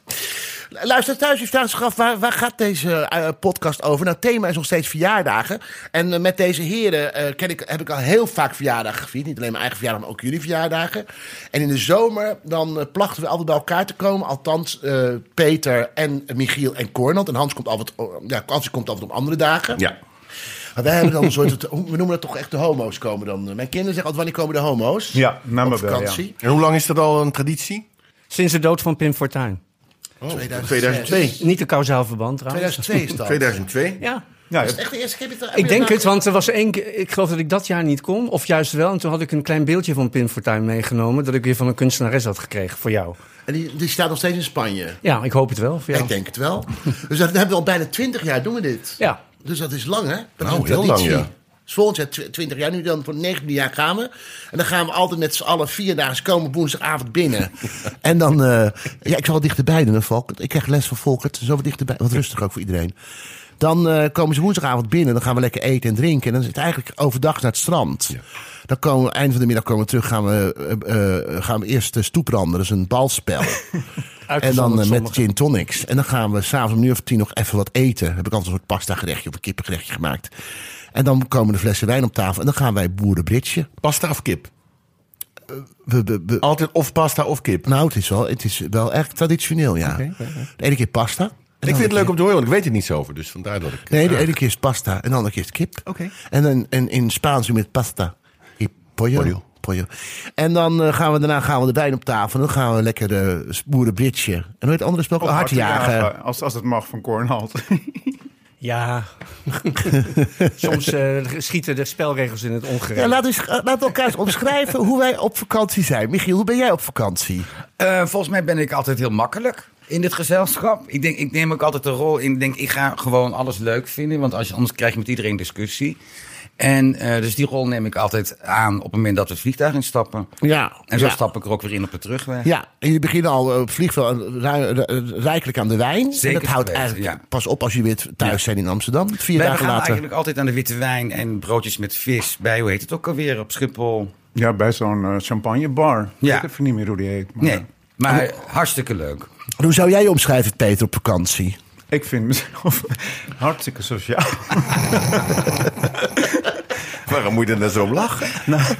Speaker 1: Luister thuis, je vraagt zich af, waar, waar gaat deze eh, podcast over? Nou, het thema is nog steeds verjaardagen. En eh, met deze heren eh, ken ik, heb ik al heel vaak verjaardagen gevierd. Niet alleen mijn eigen verjaardag, maar ook jullie verjaardagen. En in de zomer dan eh, plachten we altijd bij elkaar te komen. Althans, eh, oh, Peter en Michiel en Cornel. En Hans komt altijd, o- ja, Hans komt altijd op andere dagen.
Speaker 3: Ja.
Speaker 1: Maar wij hebben dan een soort... We noemen dat toch echt de homo's komen dan. Mijn kinderen zeggen altijd, wanneer komen de homo's?
Speaker 10: Ja, nou
Speaker 1: Op
Speaker 10: maar wel, ja.
Speaker 1: vakantie.
Speaker 3: En hoe lang is dat al een traditie?
Speaker 9: Sinds de dood van Pim Fortuyn.
Speaker 1: Oh, 2002.
Speaker 9: Niet een kausaal verband trouwens.
Speaker 1: 2002 is dat.
Speaker 3: 2002?
Speaker 9: Ja.
Speaker 10: Ja,
Speaker 1: Is het echt de eerste keer? dat je het- heb je
Speaker 9: Ik
Speaker 1: het
Speaker 9: denk
Speaker 1: nou-
Speaker 9: het, want er was één keer, ik geloof dat ik dat jaar niet kon, of juist wel. En toen had ik een klein beeldje van Pim Fortuyn meegenomen, dat ik weer van een kunstenares had gekregen voor jou.
Speaker 1: En die, die staat nog steeds in Spanje.
Speaker 9: Ja, ik hoop het wel voor jou.
Speaker 1: Ik denk het wel. dus dat hebben we al bijna 20 jaar doen we dit.
Speaker 9: Ja.
Speaker 1: Dus dat is lang, hè? Dat
Speaker 3: Nou,
Speaker 1: is een
Speaker 3: heel
Speaker 1: traditie.
Speaker 3: lang, ja.
Speaker 1: Dus volgend jaar tw- 20 jaar, nu dan voor het 19e jaar gaan we. En dan gaan we altijd met z'n allen vier dagen komen op woensdagavond binnen. en dan, eh, ja, ik zal het dichterbij doen, hè, Volkert. Ik krijg les van Volkert, zo wat dichterbij. Wat rustig ook voor iedereen. Dan eh, komen ze woensdagavond binnen, dan gaan we lekker eten en drinken. En dan is het eigenlijk overdag naar het strand. Dan komen we, eind van de middag komen we terug, gaan we, eh, eh, gaan we eerst de stoepranden. Dat is een balspel. En dan eh, met gin tonics. En dan gaan we s'avonds om een uur of tien nog even wat eten. Heb ik altijd een soort pasta gerechtje of een kippengerechtje gemaakt. En dan komen de flessen wijn op tafel. En dan gaan wij boeren britje.
Speaker 3: Pasta of kip?
Speaker 1: We, we, we-
Speaker 3: Altijd of pasta of kip.
Speaker 1: nou, het is, wel, het is wel echt traditioneel, ja. De ene keer pasta. en de andere
Speaker 3: ik vind het
Speaker 1: keer-
Speaker 3: leuk om te horen, want ik weet er niets over. Dus vandaar dat ik...
Speaker 1: Nee, de ene keer is pasta en de andere keer is kip.
Speaker 3: Oké.
Speaker 1: En, dan, en in Spaans doen we met pasta. Y Pollo.
Speaker 3: Pollo.
Speaker 1: Pollo. En dan eh, gaan we daarna gaan we de wijn op tafel. En dan gaan we lekker eh boeren britje. En hoe heet het andere spel?
Speaker 10: Of
Speaker 1: Oh, Hartjagen.
Speaker 10: hartjagen, Als, als het mag van Kornhalt.
Speaker 9: Ja. Soms eh, schieten de spelregels in het ongerecht.
Speaker 1: Ja, laat, eens, eh, laat elkaar eens omschrijven hoe wij op vakantie zijn. Michiel, hoe ben jij op vakantie?
Speaker 8: Eh, volgens mij ben ik altijd heel makkelijk in dit gezelschap. Ik, denk, ik neem ook altijd de rol in. Ik denk, ik ga gewoon alles leuk vinden. Want als, je- anders krijg je met iedereen discussie. En eh, dus die rol neem ik altijd aan op het moment dat we het vliegtuig instappen.
Speaker 1: Ja.
Speaker 8: En zo
Speaker 1: ja.
Speaker 8: stap ik er ook weer in op de terugweg.
Speaker 1: Ja, en jullie beginnen al eh, op vliegveld rij- rij- rijkelijk aan de wijn.
Speaker 8: Zeker
Speaker 1: en dat houdt
Speaker 8: weten,
Speaker 1: eigenlijk
Speaker 8: ja.
Speaker 1: pas op als jullie weer thuis zijn in Amsterdam. Vier
Speaker 8: Wij
Speaker 1: dagen
Speaker 8: gaan
Speaker 1: later.
Speaker 8: eigenlijk altijd aan de witte wijn en broodjes met vis. Bij, hoe heet het ook alweer, op Schiphol.
Speaker 10: ja, bij zo'n eh, champagnebar.
Speaker 8: Ja.
Speaker 10: Ik weet even niet meer hoe die heet. Maar
Speaker 8: Nee, maar hartstikke leuk.
Speaker 1: En Hoe zou jij je omschrijven, Peter, op vakantie?
Speaker 10: Ik vind mezelf hartstikke sociaal.
Speaker 3: Waarom moet je er nou zo om lachen?
Speaker 10: Nou,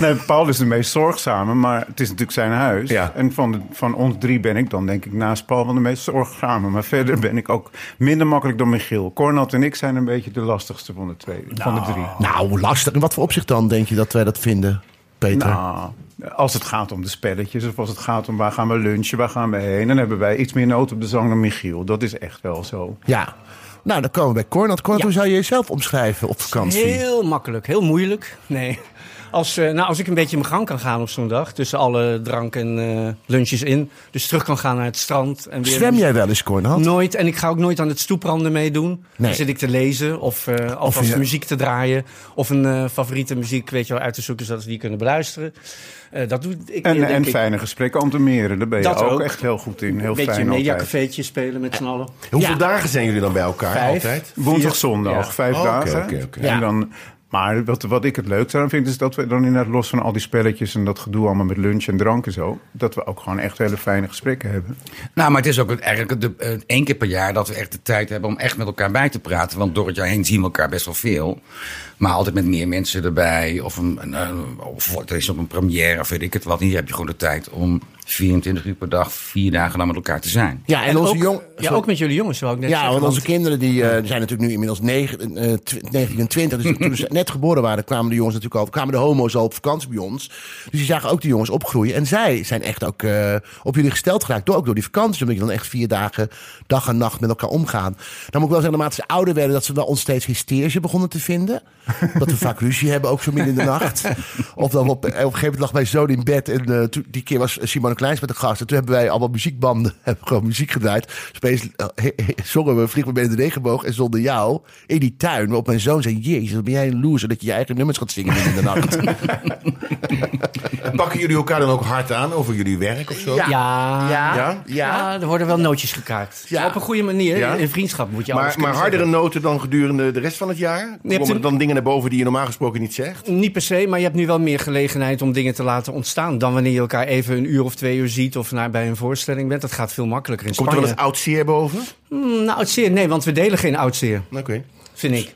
Speaker 10: nee, Paul is de meest zorgzame, maar het is natuurlijk zijn huis.
Speaker 3: Ja.
Speaker 10: En van, de, van ons drie ben ik dan, denk ik, naast Paul wel de meest zorgzame. Maar verder ben ik ook minder makkelijk dan Michiel. Cornat en ik zijn een beetje de lastigste van de, twee, van de drie.
Speaker 1: Nou, lastig. In wat voor opzicht dan denk je dat wij dat vinden, Peter?
Speaker 10: Nou, als het gaat om de spelletjes of als het gaat om waar gaan we lunchen, waar gaan we heen... dan hebben wij iets meer nood op de zang dan Michiel. Dat is echt wel zo.
Speaker 1: Ja. Nou, dan komen we bij Cornat. Cornat,
Speaker 9: Ja.
Speaker 1: hoe zou je jezelf omschrijven op vakantie?
Speaker 9: Heel makkelijk, heel moeilijk. Nee. Als, eh, nou, als ik een beetje mijn gang kan gaan op zo'n dag, tussen alle drank en eh, lunches in. Dus terug kan gaan naar het strand. En weer
Speaker 1: Zwem jij wel eens, Cornat?
Speaker 9: Nooit. En ik ga ook nooit aan het stoepranden meedoen. Dan
Speaker 1: Nee.
Speaker 9: zit ik te lezen of, eh of
Speaker 1: je-
Speaker 9: muziek te draaien. Of een eh, favoriete muziek weet je wel, uit te zoeken, zodat we die kunnen beluisteren. Eh, dat doe ik meer,
Speaker 10: En,
Speaker 9: denk
Speaker 10: en
Speaker 9: ik.
Speaker 10: fijne gesprekken om te meren. Daar ben je
Speaker 9: Dat
Speaker 10: ook,
Speaker 9: ook.
Speaker 10: echt heel goed in. Heel
Speaker 9: Een beetje
Speaker 10: fijn
Speaker 9: een
Speaker 10: altijd.
Speaker 9: mediacafeetje spelen met z'n allen.
Speaker 3: Hoeveel
Speaker 1: Ja.
Speaker 3: dagen zijn jullie dan bij elkaar
Speaker 9: Vijf.
Speaker 3: altijd? Oh,
Speaker 10: Woensdag, zondag,
Speaker 9: Ja.
Speaker 10: vijf
Speaker 3: Oké,
Speaker 10: dagen.
Speaker 3: oké, oké.
Speaker 1: Ja.
Speaker 10: En dan, maar wat, wat ik het leukste aan vind, is dat we dan inderdaad los van al die spelletjes en dat gedoe allemaal met lunch en drank en zo, dat we ook gewoon echt hele fijne gesprekken hebben.
Speaker 8: Nou, maar het is ook het- eigenlijk de, eh, één keer per jaar dat we echt de tijd hebben om echt met elkaar bij te praten. Want door het jaar heen zien we elkaar best wel veel. Maar altijd met meer mensen erbij. Of, een, een, eh, of er is op een première of weet ik het wat. Hier heb je gewoon de tijd om 24 uur per dag, vier dagen lang met elkaar te zijn.
Speaker 1: Ja, en,
Speaker 9: En
Speaker 1: onze
Speaker 9: ook,
Speaker 1: jong...
Speaker 9: ja, ook met jullie jongens, zou ik net
Speaker 1: Ja,
Speaker 9: zeggen.
Speaker 1: want onze kinderen die, eh, zijn natuurlijk nu inmiddels 9, eh, tw- 19 en 20. Dus toen ze net geboren waren, kwamen de jongens natuurlijk al, kwamen de homo's al op vakantie bij ons. Dus die zagen ook die jongens opgroeien. En zij zijn echt ook eh, op jullie gesteld geraakt. Door, ook door die vakantie. Omdat je dan echt vier dagen, dag en nacht met elkaar omgaan. Dan moet ik wel zeggen, naarmate ze ouder werden, dat ze wel ons steeds hysterische begonnen te vinden. Dat we vaak ruzie hebben, ook zo midden in de nacht. Of dan op, op een gegeven moment lag mijn zoon in bed. En eh, toen- die keer was Simone Kleins met een gast. En toen hebben wij allemaal muziekbanden, hebben gewoon muziek gedraaid. Dus opeens, eh, he- he- zongen we Vlieg me mee in de regenboog en zonder jou in die tuin. Waarop mijn zoon zei, jezus, wat ben jij een loser dat je je eigen nummers gaat zingen midden in de nacht.
Speaker 3: En pakken jullie elkaar dan ook hard aan over jullie werk of zo?
Speaker 9: Ja. Ja. Ja.
Speaker 3: Ja?
Speaker 9: er worden wel nootjes gekaakt.
Speaker 1: Ja.
Speaker 9: Maar Op een goede manier.
Speaker 3: Ja.
Speaker 9: In vriendschap moet je alles
Speaker 3: Maar, maar
Speaker 9: kunnen
Speaker 3: hardere
Speaker 9: zeggen.
Speaker 3: noten dan gedurende de rest van het jaar? Komen er
Speaker 9: een-
Speaker 3: dan dingen naar boven die je normaal gesproken niet zegt?
Speaker 9: Niet per se, maar je hebt nu wel meer gelegenheid om dingen te laten ontstaan... dan wanneer je elkaar even een uur of twee uur ziet of naar, bij een voorstelling bent. Dat gaat veel makkelijker in
Speaker 3: Komt er
Speaker 9: Spanje.
Speaker 3: wel eens oud zeer boven?
Speaker 9: Mm, nou, oudseer, nee, want we delen geen oudseer,
Speaker 3: Oké.
Speaker 9: vind ik.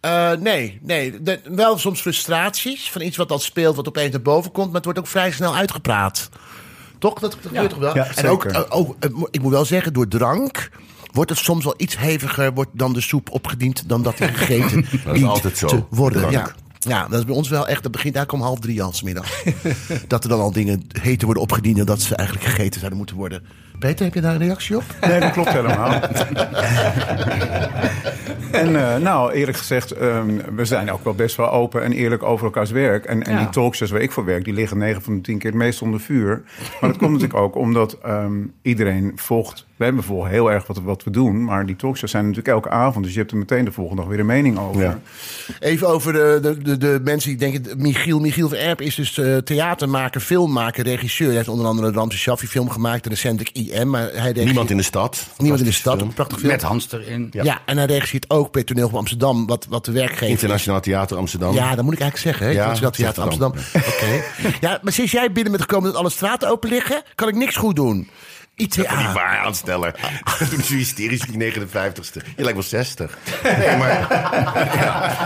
Speaker 1: Eh, nee, nee. De- wel soms frustraties van iets wat dan speelt, wat opeens naar boven komt. Maar het wordt ook vrij snel uitgepraat. Toch? Dat, dat gebeurt toch wel?
Speaker 10: Ja,
Speaker 1: en ook, oh,
Speaker 10: zeker.
Speaker 1: eh, ook, eh, mo- ik moet wel zeggen, door drank wordt het soms wel iets heviger wordt dan de soep opgediend dan dat er gegeten
Speaker 3: Dat is
Speaker 1: dient
Speaker 3: altijd zo,
Speaker 1: te worden.
Speaker 3: drank.
Speaker 1: Ja. ja, dat is bij ons wel echt. Dat begint eigenlijk om half drie al 's middags. dat er dan al dingen heten worden opgediend en dat ze eigenlijk gegeten zouden moeten worden. Peter, heb je daar een reactie op?
Speaker 10: Nee, dat klopt helemaal. En eh, nou, eerlijk gezegd, ehm, we zijn ook wel best wel open en eerlijk over elkaars werk. En, en
Speaker 12: Ja.
Speaker 10: die talkshows waar ik voor werk, die liggen 9 van de 10 keer het meest onder vuur. Maar dat komt natuurlijk ook omdat ehm, iedereen volgt. We hebben bijvoorbeeld heel erg wat, wat we doen, maar die talkshows zijn natuurlijk elke avond. Dus je hebt er meteen de volgende dag weer een mening over.
Speaker 1: Ja. Even over de, de, de, de mensen die denken... Michiel, Michiel van Erp is dus eh, theatermaker, filmmaker, regisseur. Hij heeft onder andere de Ramse Shaffi film gemaakt. en Recentelijk IM. Maar hij regisseert-
Speaker 3: Niemand in de stad.
Speaker 1: Niemand in de stad. Een prachtig film.
Speaker 8: Met Hans erin.
Speaker 1: Ja. en hij regisseert ook bij het Toneel van Amsterdam. Wat, wat de werkgever is.
Speaker 3: Internationaal Theater Amsterdam.
Speaker 1: Ja, dat moet ik eigenlijk zeggen.
Speaker 3: Ja,
Speaker 1: Ja, dat Theater
Speaker 3: zegt het dan.
Speaker 1: Amsterdam. Oké. Ja, maar sinds jij binnen bent gekomen dat alle straten open liggen, kan ik niks goed doen.
Speaker 3: Dat is niet
Speaker 1: ITA.
Speaker 3: waar, aansteller. Toen is je hysterisch op die 59ste. Je lijkt wel 60. Nee, maar... Ja.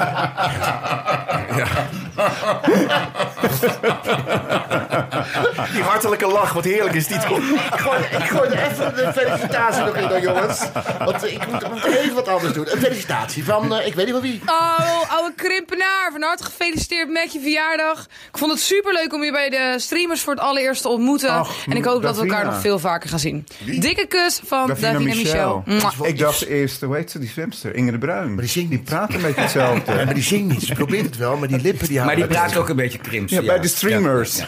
Speaker 3: Die hartelijke lach, wat heerlijk is die toch?
Speaker 1: Ik gooi, ik gooi er even de felicitatie nog in dan, jongens. Want eh, ik moet, moet even wat anders doen. Een felicitatie van, eh, ik weet niet van wie.
Speaker 13: Oh, oude krimpenaar. Van harte gefeliciteerd met je verjaardag. Ik vond het superleuk om je bij de streamers voor het allereerst te ontmoeten. en ik hoop dat we elkaar
Speaker 10: Davina.
Speaker 13: nog veel vaker gaan zien. Dikke kus van Davina, Michel. Mwah.
Speaker 10: Ik dacht eerst, hoe heet ze, die zwemster? Inge de Bruin. Maar
Speaker 1: die zingt niet.
Speaker 10: praat een beetje hetzelfde.
Speaker 1: maar die zingt niet. Ze probeert het wel, maar die lippen die
Speaker 8: Maar die
Speaker 1: houden het
Speaker 8: praat ook een beetje krims.
Speaker 10: Ja, bij de streamers.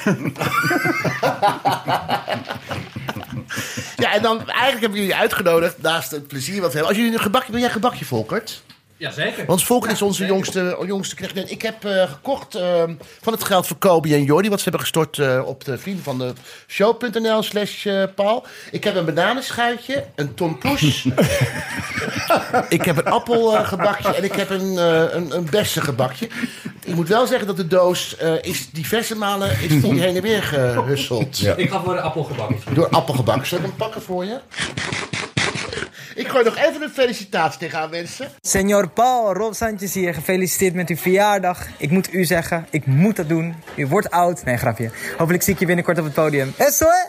Speaker 1: Ja, en dan eigenlijk hebben we jullie uitgenodigd naast het plezier wat we hebben. Als jullie een gebakje, wil jij een gebakje, Volkert?
Speaker 12: Jazeker.
Speaker 1: Want Volkert is onze jongste, oh, jongste knecht. En Ik heb eh, gekocht eh, van het geld voor Kobe en Jordi. Wat ze hebben gestort eh, op de vrienden van de show.nl slash eh, Paul. Ik heb een bananenschuitje, een tompoes. ik heb een appelgebakje en ik heb een, eh een, een bessengebakje. Ik moet wel zeggen dat de doos eh, is diverse malen is die heen en weer gehusseld.
Speaker 12: Ik ga voor de appelgebak.
Speaker 1: Door appelgebak. Zal ik hem pakken voor je? Ik gooi nog even een felicitatie tegenaan wensen.
Speaker 14: Senor Paul, Rob Sanchez hier. Gefeliciteerd met uw verjaardag. Ik moet u zeggen, ik moet dat doen. U wordt oud. Nee, grapje. Hopelijk zie ik je binnenkort op het podium. Eso, hè?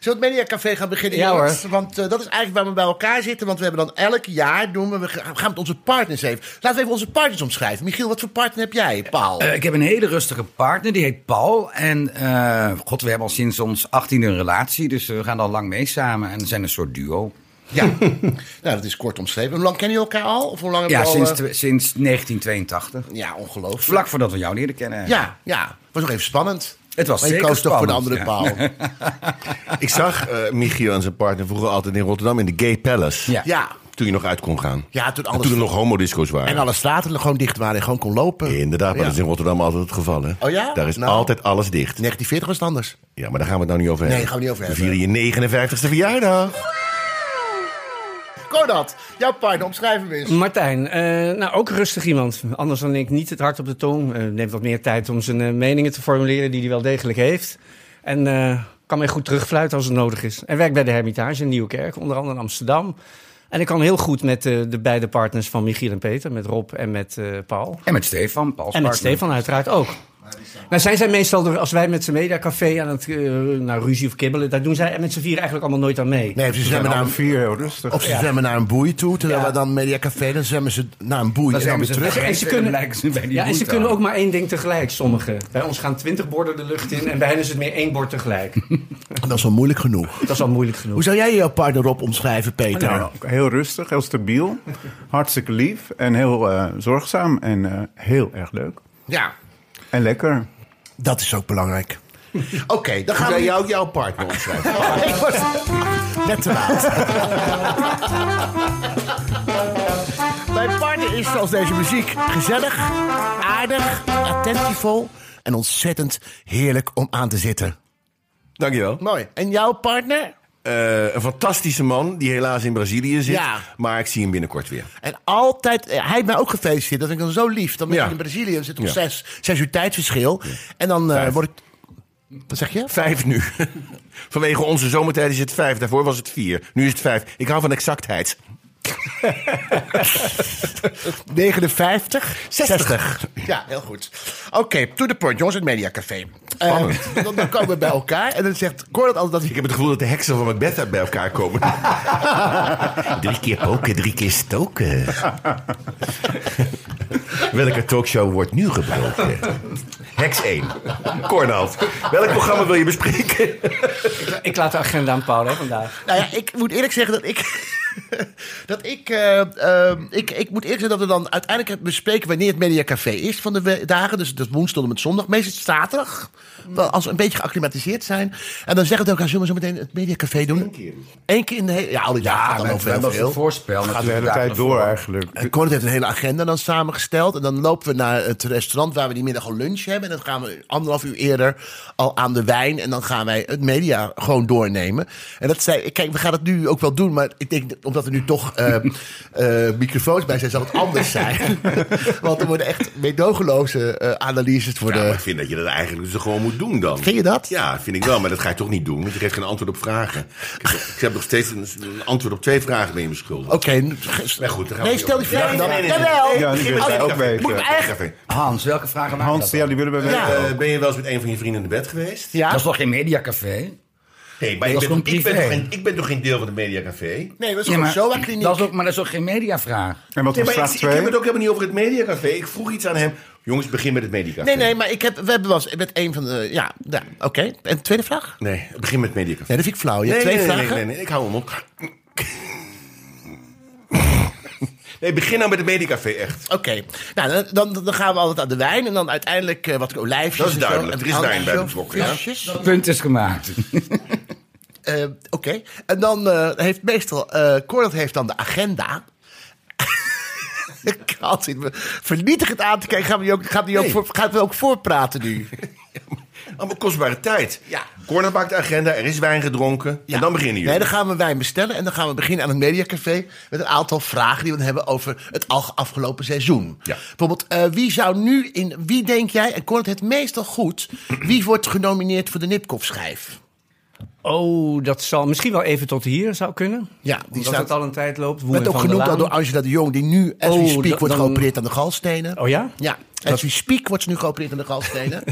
Speaker 1: Zullen we het Media Café gaan beginnen?
Speaker 14: Ja,
Speaker 1: jongens?
Speaker 14: hoor.
Speaker 1: Want eh, dat is eigenlijk waar we bij elkaar zitten. Want we hebben dan elk jaar doen we, we gaan met onze partners even. Laten we even onze partners omschrijven. Michiel, wat voor partner heb jij, Paul?
Speaker 8: Eh, ik heb een hele rustige partner, die heet Paul. En eh, god, we hebben al sinds ons 18e een relatie, dus we gaan al lang mee samen en we zijn een soort duo.
Speaker 1: Ja, nou, dat is kort omschreven. Hoe lang kennen jullie elkaar al? Of hoe lang
Speaker 8: Ja,
Speaker 1: hebben
Speaker 8: sinds,
Speaker 1: al, eh,
Speaker 8: twe- sinds 1982.
Speaker 1: Ja, ongelooflijk.
Speaker 8: Vlak voordat we jou leren kennen.
Speaker 1: Ja, ja. Was nog even spannend.
Speaker 8: Het was
Speaker 1: Maar je
Speaker 8: zeker
Speaker 1: koos toch voor de andere
Speaker 8: spannend,
Speaker 1: Paul?
Speaker 8: ja.
Speaker 3: Ik zag eh, Michiel en zijn partner vroeger altijd in Rotterdam in de Gay Palace.
Speaker 1: Ja. Ja.
Speaker 3: Toen je nog uit kon gaan.
Speaker 1: Ja, toen
Speaker 3: En
Speaker 1: alles-
Speaker 3: Toen er nog homodisco's waren.
Speaker 1: En alle straten gewoon dicht waren en gewoon kon lopen.
Speaker 3: Inderdaad, maar
Speaker 1: Ja.
Speaker 3: dat is in Rotterdam altijd het geval. Hè?
Speaker 1: Oh ja?
Speaker 3: Daar is
Speaker 1: Nou.
Speaker 3: altijd alles dicht.
Speaker 1: 1940 was het anders.
Speaker 3: Ja, maar daar gaan we het nou niet over
Speaker 1: Nee,
Speaker 3: hebben.
Speaker 1: gaan we niet over
Speaker 3: We vieren je 59ste verjaardag.
Speaker 1: Konrad, jouw partner, omschrijf hem eens.
Speaker 9: Martijn, eh, nou ook rustig iemand. Anders dan ik niet het hart op de tong. Eh, neemt wat meer tijd om zijn eh, meningen te formuleren die hij wel degelijk heeft. En eh, kan mij goed terugfluiten als het nodig is. En werkt bij de Hermitage in Nieuwkerk, onder andere in Amsterdam. En ik kan heel goed met eh, de beide partners van Michiel en Peter, met Rob en met eh, Paul.
Speaker 8: En met Stefan, Paul's
Speaker 9: En met
Speaker 8: partner.
Speaker 9: Stefan uiteraard ook. Nou, zij zijn meestal, door- als wij met z'n mediacafé aan het eh, nou, ruzie of kibbelen, daar doen zij met z'n vier eigenlijk allemaal nooit aan mee.
Speaker 1: Nee, ze
Speaker 9: zijn
Speaker 1: zwemmen naar
Speaker 9: alle
Speaker 1: een vier,
Speaker 10: heel rustig.
Speaker 1: Of ze
Speaker 9: Ja.
Speaker 1: zwemmen naar een boei toe, terwijl
Speaker 9: Ja.
Speaker 1: we dan Media Café, dan zwemmen ze naar een boei
Speaker 9: Dan
Speaker 1: en dan
Speaker 9: zwemmen
Speaker 1: weer
Speaker 9: ze
Speaker 1: terug.
Speaker 9: weg en ze En dan kunnen-
Speaker 8: blijken ze bij die
Speaker 9: Ja, en
Speaker 8: boei
Speaker 9: ze
Speaker 8: te
Speaker 9: kunnen ook
Speaker 8: hangen.
Speaker 9: maar één ding tegelijk, sommigen. Bij ons gaan twintig borden de lucht in en bij hen is het meer één bord tegelijk.
Speaker 1: Dat is al moeilijk genoeg.
Speaker 9: Dat is al moeilijk genoeg.
Speaker 1: Hoe zou jij jouw partner op omschrijven, Peter?
Speaker 10: Nou, heel rustig, heel stabiel, hartstikke lief en heel eh, zorgzaam en eh, heel erg leuk.
Speaker 1: Ja,
Speaker 10: En lekker.
Speaker 1: dat is ook belangrijk. Oké, dan gaan
Speaker 3: Hoe
Speaker 1: we...
Speaker 3: zou jou jouw partner omschrijven?
Speaker 1: Ik word net te laat. Mijn partner is zoals deze muziek gezellig, aardig, attentievol en ontzettend heerlijk om aan te zitten.
Speaker 3: Dankjewel.
Speaker 1: Mooi. En jouw partner?
Speaker 3: Eh, een fantastische man die helaas in Brazilië zit.
Speaker 1: Ja.
Speaker 3: Maar ik zie hem binnenkort weer.
Speaker 1: En altijd, eh, hij heeft mij ook gefeliciteerd. Dat vind ik dan zo lief. Dan ben je
Speaker 3: Ja.
Speaker 1: in Brazilië, dan zit om
Speaker 3: Ja.
Speaker 1: zes, zes uur tijdverschil. En dan eh, word ik... Wat zeg je?
Speaker 3: Vijf nu. Vanwege onze zomertijd is het vijf. Daarvoor was het vier. Nu is het vijf. Ik hou van exactheid.
Speaker 1: 59?
Speaker 3: 60.
Speaker 1: Ja, heel goed. Oké, to the point, jongens, het Mediacafé.
Speaker 3: Spannend.
Speaker 1: Eh, dan, dan komen we bij elkaar en dan zegt Gordon altijd dat hij...
Speaker 3: Ik heb het gevoel dat de heksen van Macbeth uit bij elkaar komen. drie keer poken, drie keer stoken. Welke talkshow wordt nu gebroken? Heks 1. Cornald, welk programma wil je bespreken?
Speaker 9: Ik, ik laat de agenda aan Paul hè, vandaag.
Speaker 1: Nou ja, ik moet eerlijk zeggen dat ik... dat ik, eh, ehm, ik... Ik moet eerlijk zeggen dat we dan uiteindelijk bespreken wanneer het Mediacafé is van de we- dagen. Dus dat is woensdag tot met zondag. Meestal is het zaterdag. Wel, Als we een beetje geacclimatiseerd zijn. En dan zeggen we tegen elkaar, zullen we zo meteen het Mediacafé doen? Eén keer. Eén keer in de hele... Ja, al die dagen gaat dan over heel veel.
Speaker 10: Gaat de hele tijd door eigenlijk.
Speaker 1: En Cornet Eh, heeft een hele agenda dan samengesteld. En dan lopen we naar het restaurant waar we die middag al lunch hebben. En dan gaan we anderhalf uur eerder al aan de wijn. En dan gaan wij het media gewoon doornemen. En dat zei, kijk, we gaan het nu ook wel doen. Maar ik denk, dat- omdat er nu toch eh, eh, microfoons bij zijn, zal het anders zijn. Want er worden echt medogeloze eh, analyses
Speaker 3: Ja,
Speaker 1: worden.
Speaker 3: maar ik vind dat je dat eigenlijk dus gewoon moet doen dan.
Speaker 1: Vind je dat?
Speaker 3: Ja, vind ik wel, maar dat ga je toch niet doen, want je geeft geen antwoord op vragen. Ik heb, ik heb nog steeds een, een antwoord op twee vragen ben je me schuldig.
Speaker 1: Oké,
Speaker 3: maar goed, dan gaan we
Speaker 1: Nee,
Speaker 3: niet
Speaker 1: stel
Speaker 3: over-
Speaker 1: die vraag
Speaker 3: Ja,
Speaker 1: dan.
Speaker 3: nee, nee, nee.
Speaker 1: Jawel.
Speaker 3: Nee,
Speaker 1: Ja, die
Speaker 3: begin
Speaker 1: wil
Speaker 3: met
Speaker 1: ik
Speaker 3: het
Speaker 1: ook
Speaker 3: café.
Speaker 1: weten.
Speaker 3: Moet ik
Speaker 1: Ja.
Speaker 3: echt-
Speaker 8: Hans, welke vragen maken
Speaker 10: Hans, ja, die willen we weten
Speaker 3: Eh,
Speaker 10: ook.
Speaker 3: ben je wel eens met een van je vrienden in de bed geweest?
Speaker 1: Ja.
Speaker 8: Dat is toch geen mediacafé?
Speaker 3: Nee, maar
Speaker 8: Dat
Speaker 3: ik ben,
Speaker 8: is gewoon
Speaker 3: ik, ben
Speaker 8: privé.
Speaker 3: toch geen, ik ben toch geen deel van de Mediacafé?
Speaker 1: Nee, dat
Speaker 8: Ja, maar,
Speaker 1: kliniek.
Speaker 8: dat is ook, maar dat is ook geen mediavraag.
Speaker 10: En wat
Speaker 3: Nee,
Speaker 10: was
Speaker 3: maar
Speaker 10: vraag
Speaker 3: ik, ik heb het
Speaker 10: 2?
Speaker 3: ook helemaal niet over het Mediacafé. Ik vroeg iets aan hem. Jongens, begin met het Mediacafé.
Speaker 1: Nee, nee, maar ik heb, we hebben wel eens met een van de. Ja, nou. ja oké. En tweede vraag?
Speaker 3: Nee, begin met Mediacafé.
Speaker 1: Nee, dat vind ik flauw. Je hebt
Speaker 3: nee,
Speaker 1: twee
Speaker 3: nee,
Speaker 1: vragen.
Speaker 3: Nee, nee, nee, ik hou hem op. Nee, begin nou met het Mediacafé, echt.
Speaker 1: Oké, nou, dan, dan, dan gaan we altijd aan de wijn en dan uiteindelijk eh, wat olijfjes.
Speaker 3: Dat is
Speaker 1: en zo,
Speaker 3: duidelijk.
Speaker 1: en
Speaker 3: Er is
Speaker 1: andere
Speaker 3: wijn bij
Speaker 1: zo,
Speaker 3: betrokken, ja.
Speaker 1: flesjes.
Speaker 8: Het punt is gemaakt.
Speaker 1: Eh, Oké, en dan eh, heeft meestal, eh Cordat heeft dan de agenda. Ik had zit me vernietigend aan te kijken. Gaan we die ook, gaat die ook,
Speaker 3: Nee.
Speaker 1: voor, gaat we ook voorpraten nu?
Speaker 3: Allemaal kostbare tijd.
Speaker 1: Ja.
Speaker 3: Corner maakt de agenda, er is wijn gedronken. En dan beginnen jullie.
Speaker 1: Nee, dan gaan we wijn bestellen en dan gaan we beginnen aan het Mediacafé... met een aantal vragen die we dan hebben over het al- afgelopen seizoen.
Speaker 3: Ja.
Speaker 1: Bijvoorbeeld, eh, wie zou nu in... Wie denk jij, en Cordat het meestal goed... wie wordt genomineerd voor de Nipkoff-schijf?
Speaker 9: Oh, dat zal misschien wel even tot hier zou kunnen.
Speaker 1: Ja, die
Speaker 9: Omdat
Speaker 1: staat-
Speaker 9: het al een tijd loopt. Woemen
Speaker 1: Werd ook
Speaker 9: van der
Speaker 1: genoemd al
Speaker 9: Laan.
Speaker 1: door Angela de Jong, die nu, as we
Speaker 9: Oh,
Speaker 1: speak,
Speaker 9: da-
Speaker 1: wordt
Speaker 9: dan-
Speaker 1: geopereerd aan de galstenen.
Speaker 9: Oh ja?
Speaker 1: Ja, as we speak wordt ze nu geopereerd aan de galstenen.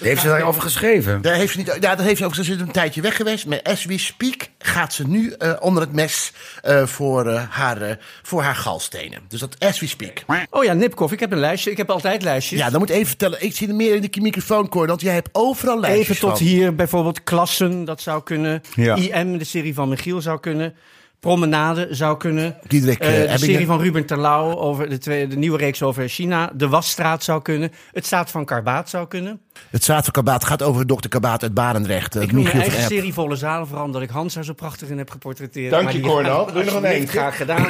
Speaker 8: Heeft ze daarover geschreven?
Speaker 1: daar heeft ze niet, ja, daar heeft ze ook, ze is een tijdje weg geweest. Maar as we speak gaat ze nu eh, onder het mes eh, voor, eh, haar, eh, voor haar galstenen. Dus dat as we speak.
Speaker 9: Oh ja, Nipkoff. Ik heb een lijstje. Ik heb altijd lijstjes.
Speaker 1: Ja, dan moet ik even vertellen. Ik zie er meer in de microfoon, Cor, want jij hebt overal lijstjes
Speaker 9: Even tot
Speaker 1: van.
Speaker 9: hier bijvoorbeeld klassen, dat zou kunnen.
Speaker 10: Ja.
Speaker 9: IM, de serie van Michiel, zou kunnen. Promenade zou kunnen.
Speaker 1: Diederik,
Speaker 9: Eh,
Speaker 1: eh,
Speaker 9: de
Speaker 1: Ebbingen.
Speaker 9: serie van Ruben Terlouw over de, tweede, de nieuwe reeks over China. De Wasstraat zou kunnen. Het staat van Karbaat zou kunnen.
Speaker 1: Het zaadverkabaat gaat over dokter Kabaat uit Barendrecht. eh,
Speaker 9: Ik noem mijn
Speaker 1: Michiel van
Speaker 9: eigen
Speaker 1: Epp.
Speaker 9: serie Volle Zalen, vooral omdat ik Hans daar zo prachtig in heb geportretteerd.
Speaker 3: Dank
Speaker 9: Maar
Speaker 3: je,
Speaker 9: die-
Speaker 3: Cornel. Wil je nog een
Speaker 9: Alsjeblieft,
Speaker 3: eentje?
Speaker 9: Graag gedaan.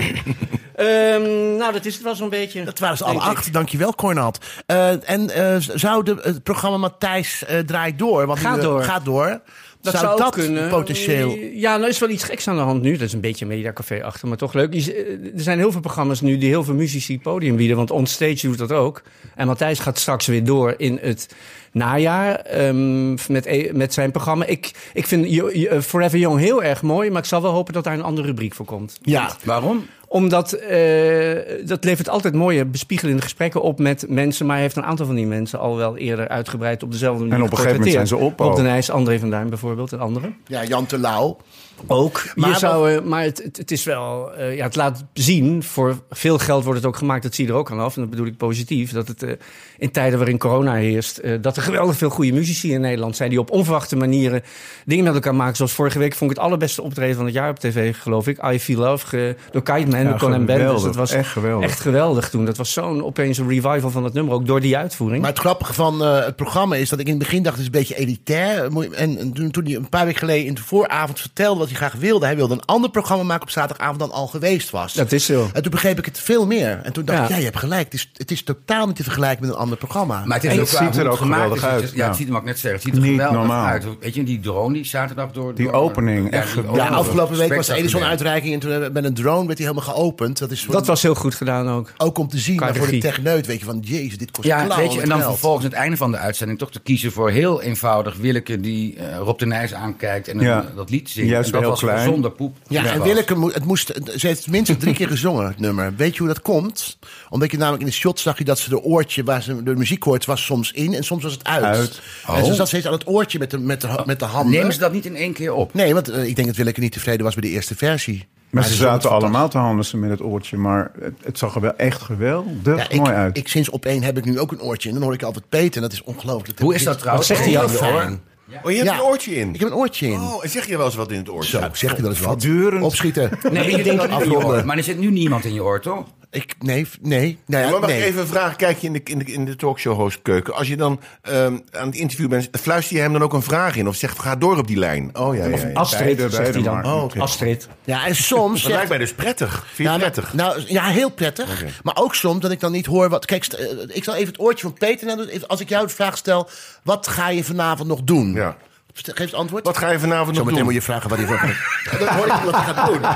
Speaker 9: Ehm, nou, dat is het wel zo'n beetje.
Speaker 1: Dat waren ze alle
Speaker 9: denk ik.
Speaker 1: acht. Dankjewel, Cornald. Eh, en eh, z- zou de, het programma Matthijs eh, draait door? Want
Speaker 9: Gaat
Speaker 1: nu, eh,
Speaker 9: door.
Speaker 1: Gaat door.
Speaker 9: Dat
Speaker 1: zou,
Speaker 9: zou,
Speaker 1: dat
Speaker 9: kunnen.
Speaker 1: potentieel...
Speaker 9: Ja, nou is wel iets geks aan de hand nu. Dat is een beetje mediacafé achter, maar toch leuk. Je z- eh, Er zijn heel veel programma's nu die heel veel muzici podium bieden. Want Onstage doet dat ook. En Matthijs gaat straks weer door in het najaar ehm, met, e- met zijn programma. Ik, ik vind Jo- Jo- eh, Forever Young heel erg mooi. Maar ik zal wel hopen dat daar een andere rubriek voor komt.
Speaker 1: Ja,
Speaker 8: Waarom?
Speaker 9: Omdat eh, dat levert altijd mooie bespiegelende gesprekken op met mensen. Maar hij heeft een aantal van die mensen al wel eerder uitgebreid op dezelfde manier
Speaker 10: op een gegeven moment
Speaker 9: geportretteerd.
Speaker 10: zijn ze op
Speaker 9: Rob
Speaker 10: ook.
Speaker 9: de Nijs, André van Duin bijvoorbeeld en anderen.
Speaker 1: ja Jan Terlouw.
Speaker 9: Ook. Maar,
Speaker 1: Maar
Speaker 9: je zou, eh, maar het, het, het is wel, eh, ja, het laat zien, voor veel geld wordt het ook gemaakt, dat zie je er ook aan af. En dat bedoel ik positief, dat het eh, in tijden waarin corona heerst, eh, dat er geweldig veel goede muzici in Nederland zijn die op onverwachte manieren dingen met elkaar maken. Zoals vorige week vond ik het allerbeste optreden van het jaar op tv, geloof ik. I Feel Love, ge- door Kite Man,
Speaker 10: Ja,
Speaker 9: door Conan Band. Dus
Speaker 10: geweldig,
Speaker 9: dat was
Speaker 10: echt geweldig.
Speaker 9: echt geweldig toen. Dat was zo'n opeens een revival van het nummer, ook door die uitvoering.
Speaker 1: Maar het grappige van eh, het programma is dat ik in het begin dacht... het is een beetje elitair. Moet je- En, en toen, toen hij een paar weken geleden in de vooravond vertelde wat hij graag wilde... hij wilde een ander programma maken op zaterdagavond dan al geweest was.
Speaker 9: dat is zo.
Speaker 1: En toen begreep ik het veel meer. En toen dacht
Speaker 9: Ja.
Speaker 1: ik, ja, je hebt gelijk. Het is, het is totaal niet te vergelijken met een ander programma.
Speaker 8: Maar het, is
Speaker 10: En
Speaker 8: ook
Speaker 10: het
Speaker 8: qua
Speaker 10: ziet er
Speaker 8: hoe
Speaker 10: ook
Speaker 8: gemaakt
Speaker 10: geweldig
Speaker 8: is. Het
Speaker 10: uit,
Speaker 8: is- Ja,
Speaker 10: ja.
Speaker 8: het ziet er magnificeer uit. Het ziet er
Speaker 10: Niet
Speaker 8: geweldig
Speaker 10: normaal.
Speaker 8: uit. Weet je, die drone die zaterdag door...
Speaker 10: Die
Speaker 8: door-
Speaker 10: opening, echt
Speaker 8: die
Speaker 10: geweldig.
Speaker 1: ja,
Speaker 8: opening was
Speaker 1: afgelopen week was er één zo'n
Speaker 8: spectaculair.
Speaker 1: uitreiking... en toen hebben- met een drone werd hij helemaal geopend. Dat is voor-
Speaker 9: Dat was heel goed gedaan ook.
Speaker 1: ook om te zien.
Speaker 9: Qua
Speaker 1: Maar voor de
Speaker 9: regie.
Speaker 1: techneut weet je van, jezus, dit kost
Speaker 8: Ja,
Speaker 1: klauwen
Speaker 8: weet je, en dan
Speaker 1: geld.
Speaker 8: vervolgens aan het einde van de uitzending toch te kiezen voor heel eenvoudig Willeke die eh, Rob de Nijs aankijkt en
Speaker 10: Ja.
Speaker 8: eh, dat lied zingt.
Speaker 10: Juist
Speaker 8: en
Speaker 1: dat
Speaker 10: heel
Speaker 1: was
Speaker 10: klein.
Speaker 1: gezonde
Speaker 8: poep.
Speaker 1: Ja,
Speaker 10: Ja.
Speaker 1: en Willeke, moe- het moest, ze heeft minstens drie keer gezongen, het nummer. Weet je hoe dat komt? Omdat je namelijk in de shot zag je dat ze de oortje waar ze de muziek hoort, was soms in en soms was het uit.
Speaker 8: Uit.
Speaker 1: En ze
Speaker 8: Oh.
Speaker 1: zat steeds aan het oortje met de, met de, met de handen.
Speaker 8: Nemen ze dat niet in één keer op?
Speaker 1: Nee, want eh, ik denk dat Willeke niet tevreden was bij de eerste versie.
Speaker 10: Maar ze
Speaker 1: de zong het
Speaker 10: zaten allemaal te handelen met het oortje. Maar het, het zag er wel echt geweldig
Speaker 1: Ja, ik,
Speaker 10: mooi uit.
Speaker 1: Ik, sinds op één heb ik nu ook een oortje. En dan hoor ik altijd Peter. En dat is ongelooflijk.
Speaker 10: Hoe is dat
Speaker 1: Dit-
Speaker 10: trouwens? Wat zegt hij
Speaker 1: Heel
Speaker 10: ook voor?
Speaker 1: fijn.
Speaker 3: Oh, je hebt
Speaker 1: Ja.
Speaker 3: een oortje in.
Speaker 1: Ik heb een oortje in.
Speaker 3: Oh, en zeg je wel eens wat in het oortje?
Speaker 1: Zo, zegt hij wel eens wat.
Speaker 10: Durend.
Speaker 1: Opschieten.
Speaker 8: Nee, ik denk dat in je oor.
Speaker 1: afronden.
Speaker 8: Maar er zit nu niemand in je oor, toch?
Speaker 1: Ik, nee, nee. Nou ja,
Speaker 3: maar mag
Speaker 1: nee.
Speaker 3: ik even vragen? Kijk je in de, in de, in de talkshow-hostkeuken. Als je dan ehm, aan het interview bent, fluister je hem dan ook een vraag in? Of zegt, ga door op die lijn? Oh ja, ja, ja. Oh, oké.
Speaker 1: Ja, en soms...
Speaker 3: Dat lijkt mij dus prettig. Vind je het
Speaker 1: nou,
Speaker 3: prettig?
Speaker 1: Nou, ja, heel prettig. Maar ook soms dat ik dan niet hoor wat... Kijk, st- eh, ik zal even het oortje van Peter naar doen. Even- Als ik jou de vraag stel, wat ga je vanavond nog doen? Ja. Geef het antwoord. Wat
Speaker 3: ga je vanavond
Speaker 1: nog doen? Zometeen moet je vragen wat hij voor gaat
Speaker 3: Dat hoor ik wat hij gaat doen.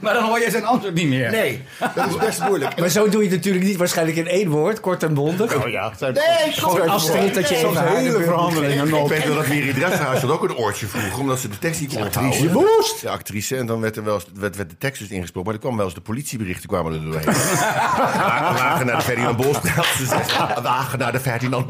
Speaker 8: Maar dan hoor je zijn antwoord niet meer.
Speaker 1: Nee, dat is best moeilijk.
Speaker 9: Maar zo doe je het natuurlijk niet. Waarschijnlijk in één woord, kort en bondig.
Speaker 3: Oh ja, het zijn
Speaker 1: Nee,
Speaker 9: gewoon afstreed dat je even haar de beurt moet geven.
Speaker 3: Ik weet wel dat Miri Dresselhuis dat ook een oortje vroeg, omdat ze de tekst niet kon
Speaker 1: actrice
Speaker 3: onthouden. De actrice. En dan werd, er wel eens, werd, werd de tekst dus ingesproken. Maar er kwamen wel eens de politieberichten kwamen er doorheen. Wa- Wagen naar de Ferdinand Bolstraat. Ze zegt, Wagen naar de Ferdinand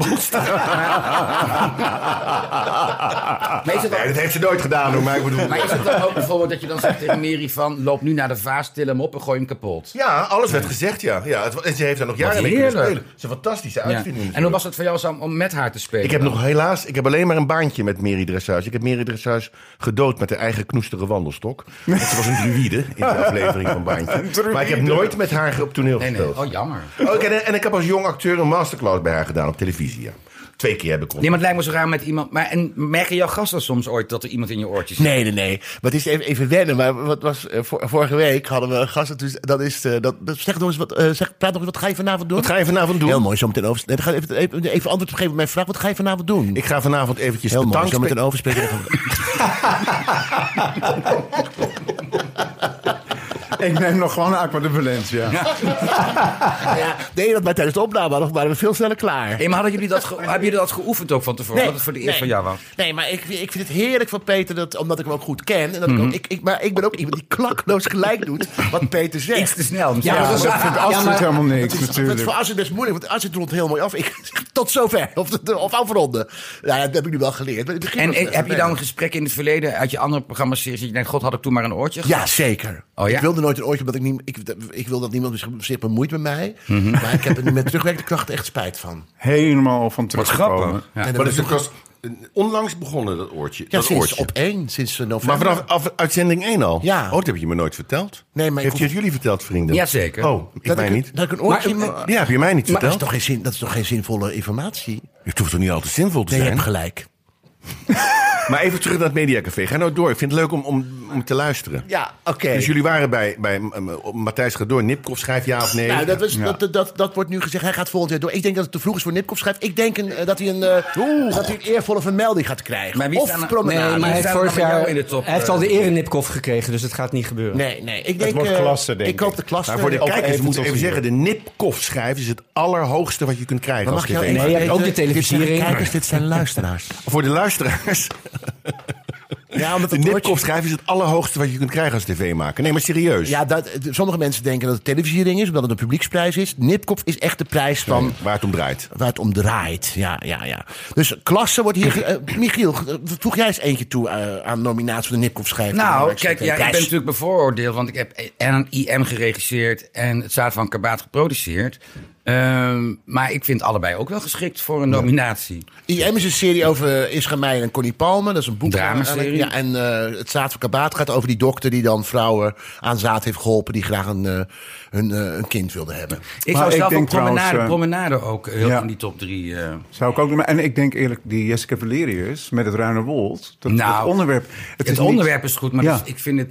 Speaker 3: Bolstraat.
Speaker 8: Maar is het dan-
Speaker 3: Nee, dat heeft ze nooit gedaan, hoor. Maar ik bedoel...
Speaker 8: Maar is het dan ook bijvoorbeeld dat je dan zegt tegen Mary van... loop nu naar de vaas, til hem op en gooi hem kapot?
Speaker 3: Ja, alles werd gezegd, ja. ja het, en ze heeft daar nog
Speaker 8: Wat
Speaker 3: jaren mee kunnen
Speaker 8: heerlijk.
Speaker 3: spelen. Ze is een fantastische uitvinding.
Speaker 8: En hoe was het voor jou Sam, om met haar te spelen?
Speaker 3: Ik heb
Speaker 8: dan?
Speaker 3: nog helaas, ik heb alleen maar een baantje met Mary Dressage. Ik heb Mary Dressage gedood met haar eigen knoestige wandelstok. Want ze was een druïde in de aflevering van Baantje. Maar ik heb nooit met haar op toneel
Speaker 8: Nee, nee.
Speaker 3: gespeeld.
Speaker 8: Oh, jammer.
Speaker 3: Oh, ik- en, en ik heb als jong acteur een masterclass bij haar gedaan op televisie. Ja. Twee keer heb ik
Speaker 8: Nee, maar het lijkt me zo raar met iemand... Maar en merken jouw gasten soms ooit dat er iemand in je oortjes zit?
Speaker 1: Nee, nee, nee. Maar het is even, even wennen. Maar wat was, eh, vor- vorige week hadden we een gast. en toen is- dat is, eh, dat, dat- zeg nog eens wat, eh, zeg, praat nog eens, wat ga je vanavond doen? Wat
Speaker 3: ga je vanavond doen?
Speaker 1: Heel mooi, zo meteen over. Nee, dan ga ik even, even, even antwoord op geven op mijn vraag. Wat ga je vanavond doen?
Speaker 3: Ik ga vanavond eventjes
Speaker 1: Heel mooi, zo meteen
Speaker 3: petankspelen.
Speaker 1: overspelen.
Speaker 10: Ik neem nog gewoon Aqua de Valencia.
Speaker 1: ja, nee, dat maar tijdens de opname hadden we- waren we veel sneller klaar.
Speaker 8: Hey, maar hadden jullie dat ge- hebben jullie dat geoefend ook van tevoren? dat het voor de eerst
Speaker 1: nee.
Speaker 8: van jou was?
Speaker 1: Nee, maar ik, ik vind het heerlijk van Peter, dat, omdat ik hem ook goed ken. En dat ik
Speaker 8: Mhm.
Speaker 1: ook, ik, ik, maar ik ben ook iemand die klakloos gelijk doet wat Peter zegt.
Speaker 8: Iets te snel.
Speaker 10: Ja, maar dat is- vindt Astrid helemaal niks,
Speaker 1: dat is-
Speaker 10: natuurlijk.
Speaker 1: Dat voor Astrid best moeilijk, want Astrid rond heel mooi af. Ik, zeg, tot zover, of, of afronden. Nou, ja, dat heb ik nu wel geleerd. maar in het begin
Speaker 8: En
Speaker 1: was
Speaker 8: eh,
Speaker 1: het best
Speaker 8: heb je
Speaker 1: vervelend.
Speaker 8: dan een gesprek in het verleden uit je andere programma's series... dat je denkt, god, had ik toen maar een oortje gehad?
Speaker 1: Ja, zeker.
Speaker 8: Oh, ja?
Speaker 1: Ik wilde nooit een oortje, omdat ik niet. Ik, ik wil dat niemand zich- zich bemoeit met mij.
Speaker 8: Mhm.
Speaker 1: Maar ik heb er nu met terugwerkende kracht echt spijt van.
Speaker 10: Helemaal van teruggekomen.
Speaker 1: Ja.
Speaker 3: Maar dat is ook als- onlangs begonnen, dat oortje.
Speaker 1: Ja,
Speaker 3: dat
Speaker 1: sinds
Speaker 3: oortje.
Speaker 1: op één, sinds eh, november.
Speaker 3: Maar vanaf af- uitzending 1 al?
Speaker 1: Ja.
Speaker 3: Oh, dat heb je me nooit verteld.
Speaker 1: Nee, maar ik
Speaker 3: Heeft je
Speaker 1: hoef-
Speaker 3: het jullie verteld, vrienden?
Speaker 1: Jazeker.
Speaker 3: Oh, ik
Speaker 1: Dat
Speaker 3: mij
Speaker 1: ik-
Speaker 3: niet.
Speaker 1: dat ik een oortje
Speaker 3: Maar- eh,
Speaker 1: mag-
Speaker 3: Ja, heb je mij niet
Speaker 1: Maar eh, dat is,
Speaker 3: verteld?
Speaker 1: toch geen zin, dat is toch geen zinvolle informatie?
Speaker 3: Het hoeft toch niet altijd zinvol te
Speaker 1: Nee, je
Speaker 3: zijn?
Speaker 1: hebt gelijk.
Speaker 3: Maar even terug naar het Mediacafé. Ga nou door. Ik vind het leuk om, om, om te luisteren.
Speaker 1: Ja, oké.
Speaker 3: Dus jullie waren bij, bij ehm, Matthijs gaat door. Nipkoff schrijft ja of nee.
Speaker 1: Nou, dat, was,
Speaker 3: Ja.
Speaker 1: dat, dat, dat, dat wordt nu gezegd. Hij gaat volgend jaar door. Ik denk dat het te vroeg is voor Nipkoff schrijft. Ik denk een, eh, dat, hij een, eh, dat hij een eervolle vermelding gaat krijgen.
Speaker 9: Maar wie
Speaker 1: of
Speaker 9: staan er-
Speaker 1: promenade.
Speaker 9: Nee, maar hij heeft vorig jaar... hij heeft al de
Speaker 1: eer.
Speaker 9: erenipkoff gekregen, dus het gaat niet gebeuren.
Speaker 1: eh, Nee, nee. Ik denk, eh, ik. koop de klasse.
Speaker 3: Maar Nou, voor de
Speaker 1: Ook
Speaker 3: kijkers
Speaker 1: even
Speaker 3: moet ik
Speaker 1: tot
Speaker 3: even
Speaker 1: hier.
Speaker 3: zeggen... de Nipkoff schrijft is het allerhoogste wat je kunt krijgen
Speaker 1: Maar
Speaker 3: als
Speaker 1: mag je
Speaker 3: tv.
Speaker 1: even
Speaker 9: je hebt ook de
Speaker 1: weten, dit zijn
Speaker 9: televisiering.
Speaker 1: Kijkers, dit zijn luisteraars.
Speaker 3: Voor de luisteraars...
Speaker 1: Ja, omdat
Speaker 3: de
Speaker 1: het
Speaker 3: Nipkoff schrijft is het allerhoogste wat je kunt krijgen als tv-maker. Nee, maar serieus.
Speaker 1: Ja, dat, sommige mensen denken dat Nou, het televisiering is, omdat het een publieksprijs is. Nipkoff is echt de prijs van...
Speaker 3: Waar het om draait.
Speaker 1: Waar het om draait, ja, ja, ja. Dus klasse wordt hier... ge- eh, Michiel, eh, voeg jij eens eentje toe eh, aan de nominatie van de Nipkoff schrijver.
Speaker 8: Nou,
Speaker 1: Belangrijkste
Speaker 8: kijk, ja, ik
Speaker 1: prijs.
Speaker 8: ben natuurlijk bevooroordeeld, want ik heb en een IM geregisseerd en het Zaad van Kabaat geproduceerd. Ehm, maar ik vind allebei ook wel geschikt voor een nominatie.
Speaker 1: IM is een serie over Isra Meijer en Connie Palmer. Dat is een boek. eh,
Speaker 8: Dramaserie.
Speaker 1: Ja, en eh, het Zaad van Kabaat gaat over die dokter die dan vrouwen aan zaad heeft geholpen... die graag een, eh, hun, eh, een kind wilden hebben.
Speaker 8: Ik zou zelf ook promenade,
Speaker 1: eh,
Speaker 8: promenade ook heel in die top drie. eh.
Speaker 10: Zou ik ook doen. maar- En ik denk eerlijk, die Jessica Valerius met het Ruine Wold. Dat,
Speaker 8: Nou,
Speaker 10: dat onderwerp.
Speaker 8: Het,
Speaker 10: is niet-
Speaker 8: onderwerp is goed, maar
Speaker 10: Ja.
Speaker 8: het is- ik, vind het,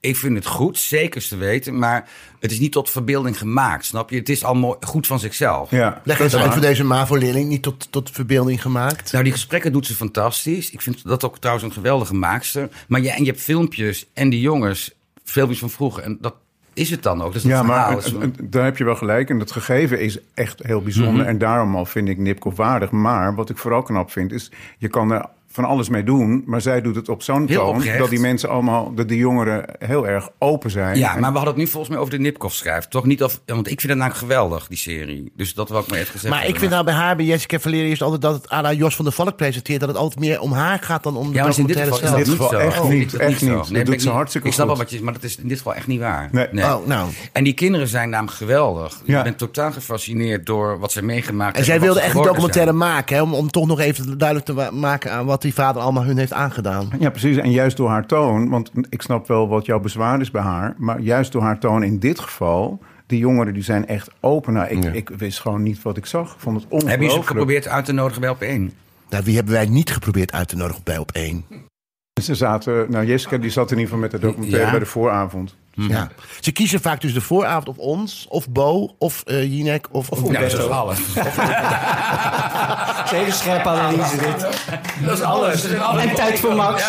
Speaker 8: ik vind het goed, zeker te weten. Maar het is niet tot verbeelding gemaakt, snap je? Het is al mooi, goed van zichzelf.
Speaker 10: Ja.
Speaker 1: Leg eens uit voor deze MAVO-leerling, niet tot, tot verbeelding gemaakt.
Speaker 8: Nou, die gesprekken doet ze fantastisch. Ik vind dat ook trouwens een geweldige maakster. Maar ja, en je hebt filmpjes en die jongens, filmpjes van vroeger. En dat is het dan ook. Dat is Dus het
Speaker 10: ja, maar
Speaker 8: verhaal.
Speaker 10: het- het- daar heb je wel gelijk. En dat gegeven is echt heel bijzonder.
Speaker 8: Mhm.
Speaker 10: En daarom al vind ik Nipkoff waardig. Maar wat ik vooral knap vind, is je kan er van alles mee doen. Maar zij doet het op zo'n
Speaker 8: Heel
Speaker 10: toon
Speaker 8: oprecht.
Speaker 10: dat die mensen allemaal, dat die jongeren heel erg open zijn.
Speaker 8: Ja,
Speaker 10: En-
Speaker 8: maar we hadden het nu volgens mij over de Nipkoff schrijft. Toch niet of, want ik vind het namelijk geweldig, die serie. Dus dat wil ik maar even gezegd
Speaker 1: Maar ik
Speaker 8: hebben.
Speaker 1: vind nou bij haar, bij Jessica Valerius, altijd dat het Ada Jos van der Valk presenteert. Dat het altijd meer om haar gaat dan om de
Speaker 8: Ja, maar is in dit geval is
Speaker 1: zelf.
Speaker 8: dat niet zo. Oh, is dat zo.
Speaker 1: Dat
Speaker 8: Nee, ben ik Ik snap wel wat je... Maar dat is in dit geval echt niet waar.
Speaker 1: Nee. Oh, nou.
Speaker 8: En die kinderen zijn namelijk geweldig. Ik ben totaal gefascineerd door wat ze meegemaakt
Speaker 1: En zij
Speaker 8: hebben, wat
Speaker 1: wilde
Speaker 8: ze
Speaker 1: echt een
Speaker 8: geworden zijn.
Speaker 1: documentaire maken, hè, om, om toch nog even duidelijk te wa- maken aan wat die vader allemaal hun heeft aangedaan.
Speaker 10: Ja, precies. En juist door haar toon, want ik snap wel wat jouw bezwaar is bij haar, maar juist door haar toon in dit geval, die jongeren die zijn echt open. Nou, ik, ik wist gewoon niet wat ik zag. Ik vond het ongelooflijk.
Speaker 8: Hebben jullie ze geprobeerd uit te nodigen bij op één?
Speaker 1: Nou, wie hebben wij niet geprobeerd uit te nodigen bij op één?
Speaker 10: Ze zaten, nou Jessica die zat in ieder geval met de documentaire
Speaker 1: Ja.
Speaker 10: bij de vooravond.
Speaker 8: Hm.
Speaker 1: Ja. Ze kiezen vaak tussen de vooravond of ons, of Bo, of eh Jinek, of... of,
Speaker 8: Ja, dat is toch alles.
Speaker 9: Zeker scherpe analyse dit.
Speaker 8: Dat is alles. Dat is alles.
Speaker 9: En tijd voor Max.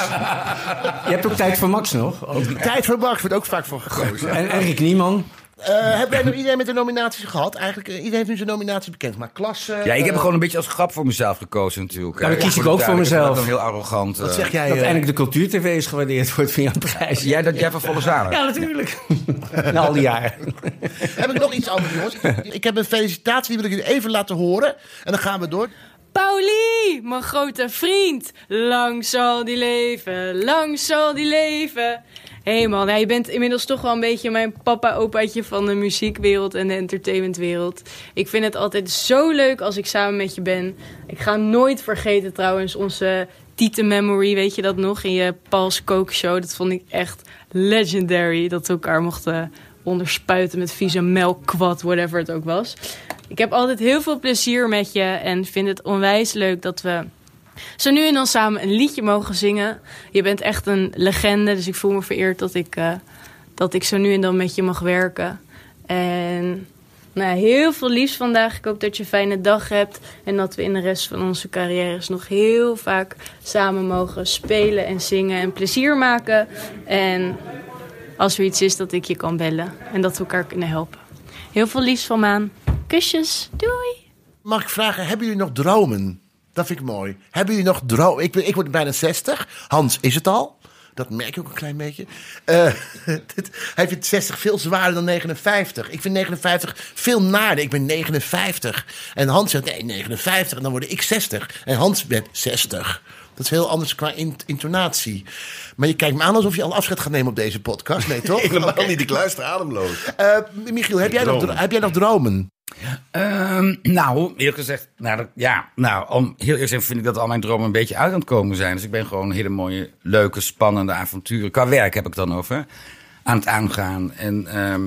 Speaker 9: Je hebt ook tijd voor Max nog.
Speaker 1: Oh, Tijd voor Max wordt ook vaak voor gekozen.
Speaker 9: En Erik Nieman.
Speaker 1: Eh, hebben wij nog iedereen met de nominaties gehad? Eigenlijk, eh, iedereen heeft nu zijn nominatie bekend. Maar klasse...
Speaker 8: Ja, ik heb
Speaker 1: eh,
Speaker 8: gewoon een beetje als grap voor mezelf gekozen natuurlijk.
Speaker 9: Nou, dat kies ik ook voor
Speaker 8: Dat
Speaker 9: mezelf.
Speaker 8: dan heel arrogant. eh.
Speaker 9: Dat eindelijk de cultuur-tv is gewaardeerd wordt via een prijs.
Speaker 8: Jij, dat, jij van volle zalen.
Speaker 9: Ja, natuurlijk. Na al die jaren.
Speaker 1: Heb ik nog iets anders, jongens? Ik heb een felicitatie, die wil ik jullie even laten horen. En dan gaan we door.
Speaker 15: Paulie, mijn grote vriend. Lang zal die leven, lang zal die leven. Hé hey man, ja, je bent inmiddels toch wel een beetje mijn papa-opaatje van de muziekwereld en de entertainmentwereld. Ik vind het altijd zo leuk als ik samen met je ben. Ik ga nooit vergeten trouwens onze Tite Memory, weet je dat nog? In je Paul's Coke Show. Dat vond ik echt legendary. Dat we elkaar mochten onderspuiten met vieze melk, kwad, whatever het ook was. Ik heb altijd heel veel plezier met je en vind het onwijs leuk dat we zo nu en dan samen een liedje mogen zingen. Je bent echt een legende, dus ik voel me vereerd dat ik, eh, dat ik zo nu en dan met je mag werken. En nou, ja, heel veel liefs vandaag. Ik hoop dat je een fijne dag hebt en dat we in de rest van onze carrières nog heel vaak samen mogen spelen en zingen en plezier maken. En als er iets is dat ik je kan bellen en dat we elkaar kunnen helpen. Heel veel liefs van Maan. Kusjes, doei.
Speaker 1: Mag ik vragen, hebben jullie nog dromen? Dat vind ik mooi. Hebben jullie nog dromen? Ik, ben- ik word bijna 60. Hans is het al. Dat merk ik ook een klein beetje. Eh, dit- hij vindt 60 veel zwaarder dan 59. Ik vind 59 veel naarder. Ik ben 59. En Hans zegt, nee, 59. En dan word ik 60. En Hans bent 60. Dat is heel anders qua in- intonatie. Maar je kijkt me aan alsof je al afscheid gaat nemen op deze podcast. Nee, toch?
Speaker 3: Helemaal
Speaker 1: Oké.
Speaker 3: niet, ik luister ademloos.
Speaker 1: Eh, Michiel, heb jij, nog,
Speaker 8: Dromen.
Speaker 1: dro- heb jij nog dromen?
Speaker 8: Ehm, nou, eerlijk gezegd, nou, dat- ja, nou, om heel eerlijk te zijn vind ik dat al mijn dromen een beetje uit aan het komen zijn. Dus ik ben gewoon hele mooie, leuke, spannende avonturen. Qua werk heb ik dan over. Aan het aangaan. En ehm,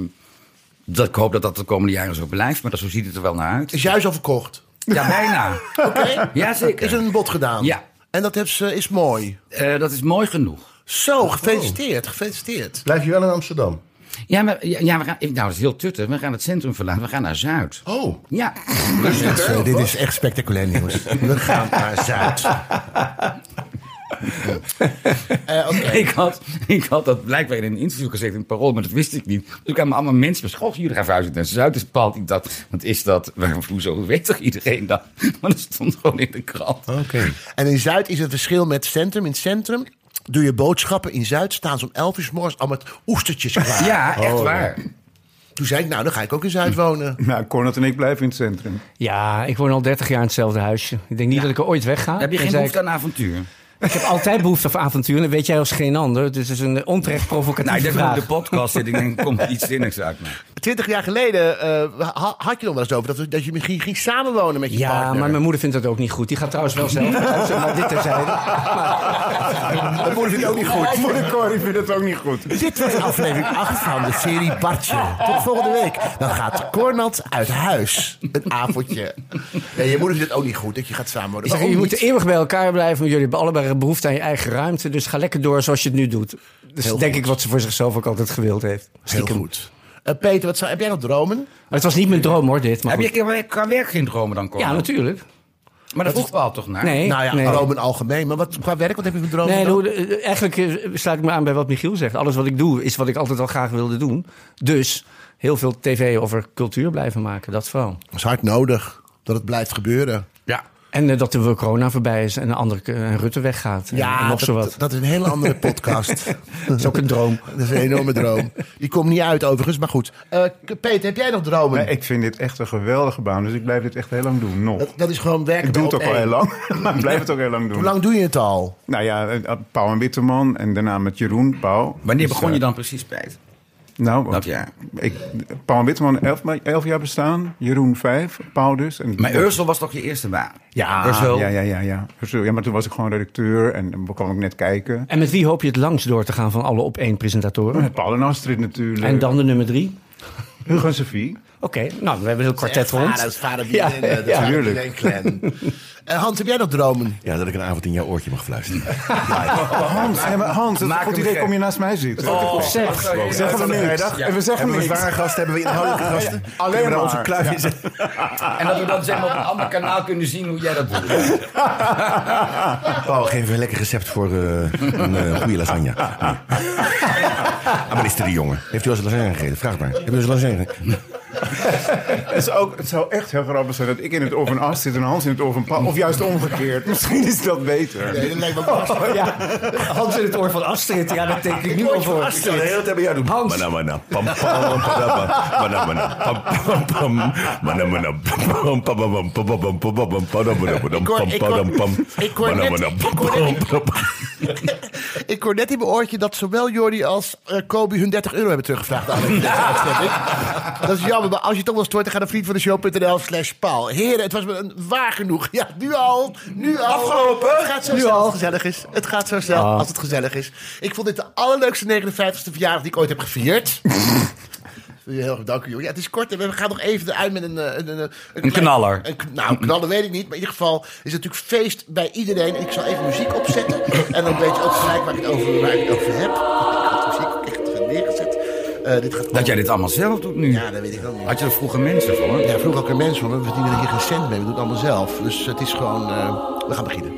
Speaker 8: dat, ik hoop dat dat de komende jaren zo blijft. Maar dat, zo ziet het er wel naar uit.
Speaker 1: Is juist al verkocht?
Speaker 8: Ja, bijna.
Speaker 1: Oké.
Speaker 8: Ja, zeker.
Speaker 1: Is een bod gedaan?
Speaker 8: Ja.
Speaker 1: En dat is, eh, is mooi?
Speaker 8: dat is mooi genoeg.
Speaker 1: Zo, Oh, gefeliciteerd, gefeliciteerd.
Speaker 3: Blijf je wel in Amsterdam?
Speaker 8: Ja, maar, ja, ja, we gaan, nou, dat is heel tuttig. We gaan het centrum verlaten. We gaan naar Zuid.
Speaker 3: Oh.
Speaker 8: Ja. Dus
Speaker 1: Zo, dit is echt spectaculair nieuws. We gaan naar Zuid.
Speaker 3: Eh,
Speaker 8: Ik, had, ik had dat blijkbaar in een interview gezegd in het parool, maar dat wist ik niet. Toen kwamen allemaal mensen met school. Jullie gaan verhuizen naar Zuid. Dus bepaald ik dat. Wat is dat? Waarom, hoezo Hoe weet toch iedereen dat? Maar dat stond gewoon in de krant. Oké.
Speaker 1: En in Zuid is het verschil met centrum. In centrum doe je boodschappen. In Zuid staan ze om 11 uur 's morgens al met oestertjes klaar. Oh.
Speaker 8: Ja,
Speaker 10: Oh,
Speaker 8: echt waar.
Speaker 1: Toen zei ik, nou, dan ga ik ook in Zuid wonen.
Speaker 10: Nou, Cornel en ik blijven in het centrum.
Speaker 9: Ja, ik woon al 30 jaar in hetzelfde huisje. Ik denk niet dat ik er ooit wegga.
Speaker 8: Heb je geen
Speaker 9: Tenzij
Speaker 8: behoefte
Speaker 9: ik-
Speaker 8: aan avontuur?
Speaker 9: Ik heb altijd behoefte aan avontuur. Dat weet jij als geen ander. Dus het is een onterecht provocatieve
Speaker 8: Nou, ik denk dat
Speaker 9: vraag.
Speaker 8: ik op de podcast zit. Ik denk, er komt iets zinnigs uit. Maar.
Speaker 1: Twintig jaar geleden eh, ha- had je nog wel eens over dat, dat je misschien ging samenwonen met je
Speaker 9: ja,
Speaker 1: partner.
Speaker 9: maar mijn moeder vindt dat ook niet goed. Die gaat trouwens wel zelf. Oh, maar dit terzijde.
Speaker 1: Mijn moeder vindt het ook niet goed.
Speaker 10: Voor de Corrie vindt het ook niet goed.
Speaker 1: Dit was aflevering 8 van de serie Bartje. Tot volgende week. Dan gaat Cornat uit huis. Een avondje. Nee, je moeder vindt het ook niet goed dat je gaat samenwonen.
Speaker 9: Ik zeg,
Speaker 1: Waarom
Speaker 9: jullie
Speaker 1: niet?
Speaker 9: moeten eeuwig bij elkaar blijven. want Jullie hebben allebei behoefte aan je eigen ruimte. Dus ga lekker door zoals je het nu doet. Dus
Speaker 1: Heel
Speaker 9: denk
Speaker 1: goed.
Speaker 9: ik wat ze voor zichzelf ook altijd gewild heeft.
Speaker 1: Heel goed. Eh, Peter, wat zou, heb jij nog dromen?
Speaker 9: Maar het was niet mijn droom hoor, dit. Maar
Speaker 8: Heb
Speaker 9: goed.
Speaker 8: je qua- qua werk geen dromen dan komen?
Speaker 9: Ja, natuurlijk.
Speaker 8: Maar dat vroeg wel toch naar?
Speaker 9: Nee,
Speaker 1: nou ja,
Speaker 9: nee.
Speaker 1: dromen algemeen. Maar wat, qua werk, wat heb je voor dromen?
Speaker 9: Nee,
Speaker 1: dan?
Speaker 9: hoe- eh, eigenlijk eh, sluit ik me aan bij wat Michiel zegt. Alles wat ik doe is wat ik altijd al graag wilde doen. Dus heel veel tv over cultuur blijven maken, dat vooral.
Speaker 1: Dat is hard nodig dat het blijft gebeuren.
Speaker 8: Ja.
Speaker 9: En eh, dat de corona voorbij is en de andere en Rutte weggaat.
Speaker 1: Ja,
Speaker 9: en nog
Speaker 1: dat,
Speaker 9: zo wat.
Speaker 1: dat is een hele andere podcast.
Speaker 9: dat is ook een droom.
Speaker 1: Dat is een enorme droom. Die komt niet uit overigens, maar goed. Eh, Peter, heb jij nog dromen?
Speaker 10: Nee, ik vind dit echt een geweldige baan, dus ik blijf dit echt heel lang doen. Nog.
Speaker 1: Dat is gewoon werken.
Speaker 10: Ik doe het
Speaker 1: op
Speaker 10: ook al
Speaker 1: één.
Speaker 10: heel lang, maar ik blijf het ook heel lang doen.
Speaker 1: Hoe lang doe je het al?
Speaker 10: Nou ja, eh, Pauw en Witteman en daarna met Jeroen Pauw.
Speaker 8: Wanneer
Speaker 10: Dus,
Speaker 8: begon je
Speaker 10: eh,
Speaker 8: dan precies bij het?
Speaker 10: Nou, want
Speaker 8: Dat jaar.
Speaker 10: Ik, Paul en Witteman, elf, ma- elf jaar bestaan. Jeroen, vijf. Paul dus. En
Speaker 8: Maar Ursel was toch je eerste baan?
Speaker 10: Ja,
Speaker 8: Ursel.
Speaker 10: ja, ja, ja, ja. Ursel, ja, maar toen was ik gewoon redacteur en dan kwam ik net kijken.
Speaker 9: En met wie hoop je het langst door te gaan van alle op één presentatoren?
Speaker 10: Met Paul en Astrid natuurlijk.
Speaker 9: En dan de nummer drie?
Speaker 10: Hugo en Sophie.
Speaker 9: Oké, nou, we hebben een heel kwartet rond.
Speaker 1: Dat is vader
Speaker 9: Ja,
Speaker 1: Bienen, eh, dat is
Speaker 9: ja.
Speaker 1: vader Bienen Clan. Eh, Hans, heb jij nog dromen?
Speaker 3: Ja, dat ik een avond in jouw oortje mag fluisteren.
Speaker 10: Hans, ja, maar Hans, dat is
Speaker 3: Maak
Speaker 10: een goed
Speaker 3: hem
Speaker 10: idee.
Speaker 3: gek.
Speaker 10: Kom je naast mij zitten?
Speaker 3: Oh,
Speaker 10: zeg.
Speaker 3: zeg.
Speaker 10: We zeggen
Speaker 3: Ja,
Speaker 10: hem niks.
Speaker 3: vrijdag.
Speaker 10: En we zeggen
Speaker 3: Hebben we
Speaker 10: niks.
Speaker 3: zware gasten, hebben we inhoudelijke gasten?
Speaker 10: Ja,
Speaker 3: Kunnen
Speaker 10: Alleen
Speaker 3: we
Speaker 10: maar.
Speaker 3: daar onze kluif in zetten?
Speaker 8: En dat we dan zeg maar op een ander kanaal kunnen zien hoe jij dat doet.
Speaker 3: Paul, Oh, geef even een lekker recept voor eh, een eh, goede lasagne. Nee. Ah, maar is er die jongen? Heeft u wel eens lasagne gegeten? Vraag maar. Heb je wel eens lasagne gegeten?
Speaker 10: Het, is ook, het zou echt heel grappig zijn dat ik in het oor van As zit en Hans in het oor van Paul. Of juist omgekeerd. Misschien is dat beter. Oh,
Speaker 1: Nee, dat lijkt me ook lastig.
Speaker 9: Oh, ja. Hans in het oor van Astrid. Ja, daar teken ik nu al voor.
Speaker 3: Astrid, de hele tijd bij jou doen.
Speaker 9: Hans.
Speaker 3: Mana, mana, pam, pam, padaba, mana, mana, pam, pam, pam, mana, mana, pam, pam, pam, pam, pam, pam, pam, pam, pam, padam, padam, padam,
Speaker 1: Ik hoor-
Speaker 3: pam,
Speaker 1: ik
Speaker 3: padam,
Speaker 1: hoor-
Speaker 3: pam,
Speaker 1: ik hoor
Speaker 3: mana,
Speaker 1: net-
Speaker 3: mana,
Speaker 1: ik
Speaker 3: pam,
Speaker 1: hoor
Speaker 3: pam,
Speaker 1: net-
Speaker 3: pam, pam.
Speaker 1: Ik hoor net in mijn oortje dat zowel Jordi als eh, Kobe hun 30 euro hebben teruggevraagd. aan de uitzending. dat is jammer, maar als je het toch wil storten, ga naar vriendvandeshow.nl slash paal. Heren, het was me een waar genoeg. Ja, nu al. Nu al. Afgelopen. Het gaat zo snel Ah. als het gezellig is. Het gaat zo snel als het gezellig is. Ik vond dit de allerleukste 59ste verjaardag die ik ooit heb gevierd. Heel erg dank, jongen. Ja, het is kort en we gaan nog even eruit met een... eh, Een, een, een, klein-
Speaker 8: knaller.
Speaker 1: een kn- nou, knallen weet ik niet. Maar in ieder geval is het natuurlijk feest bij iedereen. Ik zal even muziek opzetten. En dan weet je ook gelijk waar ik het over, waar ik het over heb. Ik had de muziek ook echt neergezet. Eh, dit gaat
Speaker 8: Dat jij dit allemaal zelf doet nu.
Speaker 1: Ja, dat weet ik ook niet.
Speaker 8: Had je er vroeger mensen voor?
Speaker 1: Ja, vroeger ook een mens van. We verdienen er hier geen cent mee. We doen het allemaal zelf. Dus het is gewoon... eh, we gaan beginnen.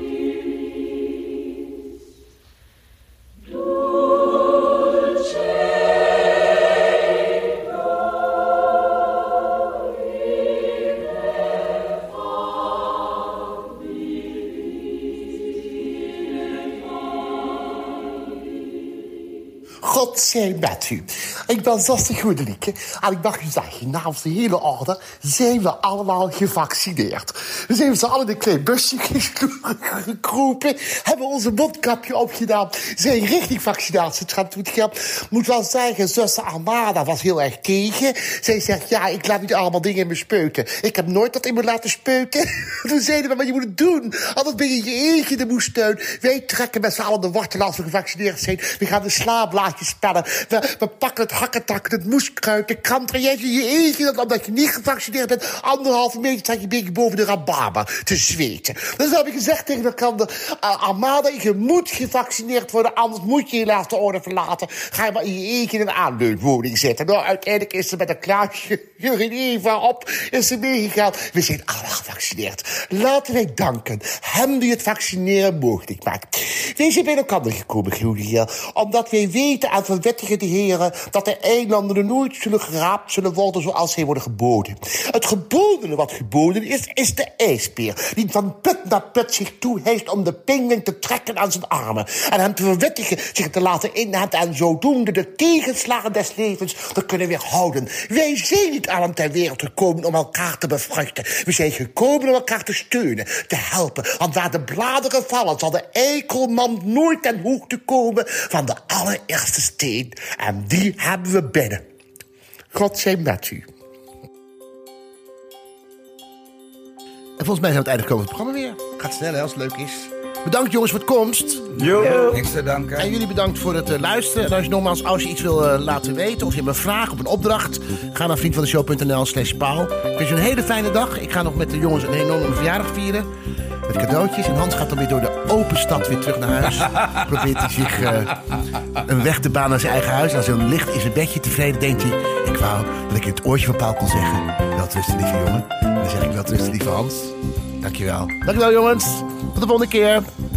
Speaker 16: God zij met u. Ik ben Zaste Goedelieke en ik mag u zeggen, namens de hele orde zijn we allemaal gevaccineerd. We zijn met z'n allen in een klein busje gekro- gekropen, hebben onze mondkapje opgedaan, zijn richting vaccinatietrend gegaan. Moet wel zeggen, zuster Armada was heel erg tegen. Zij zegt, ja, ik laat niet allemaal dingen in me speuten. Ik heb nooit dat in me laten speuten. Toen zeiden we, maar je moet het doen, anders ben je je eentje in de moestuin. Wij trekken met z'n allen de wortel als we gevaccineerd zijn. We gaan de slaablaadjes spellen. We, we pakken het hakketak, het moeskruid, de kranter. Jij zit in je eentje, dat omdat je niet gevaccineerd bent. Anderhalve meter staat je een beetje boven de rabarber te zweten. Dus dan heb ik gezegd tegen de kranter... eh, Amada, je moet gevaccineerd worden, anders moet je helaas de orde verlaten. Ga je maar in je eentje in een aanleunwoning zitten. Nou, uiteindelijk is ze met een klaasje Jurgen Eva op, is ze meegegaan. We zijn allemaal gevaccineerd. Laten wij danken hem die het vaccineren mogelijk maakt. Wij zijn bij elkaar gekomen, goede heer, omdat wij weten aan verwettigde heren dat de eilanden nooit zullen geraapt zullen worden zoals zij worden geboden. Het gebodene wat geboden is, is de ijsbeer, die van put naar put zich toehijst om de pinguïn te trekken aan zijn armen en hem te verwettigen zich te laten inhenten en zodoende de tegenslagen des levens te kunnen weerhouden. Wij zijn niet allen ter wereld gekomen om elkaar te bevruchten. We zijn gekomen om elkaar te steunen, te helpen. Want waar de bladeren vallen, zal de eikelman nooit ten hoogte komen van de allereerste steen. En die hebben we binnen. God zij met u.
Speaker 1: En volgens mij zijn we aan het einde gekomen van het programma weer. Gaat snel, hè, als het leuk is. Bedankt jongens voor het komst.
Speaker 8: Niks te danken.
Speaker 1: En jullie bedankt voor het eh, luisteren. En als je nogmaals, als je iets wil eh, laten weten of je hebt een vraag of een opdracht, ga naar vriendvandeshow.nl slash paal. Ik wens je een hele fijne dag. Ik ga nog met de jongens een enorme verjaardag vieren. Met cadeautjes. En Hans gaat dan weer door de open stad weer terug naar huis. Probeert hij zich eh, een weg te banen naar zijn eigen huis. En als hij dan ligt in zijn bedje tevreden, denkt hij... Ik wou dat ik in het oortje van Paal kon zeggen... Wel rusten, lieve jongen. En dan zeg ik wel rusten, lieve Hans. Dankjewel. Dankjewel, jongens. Tot de volgende keer.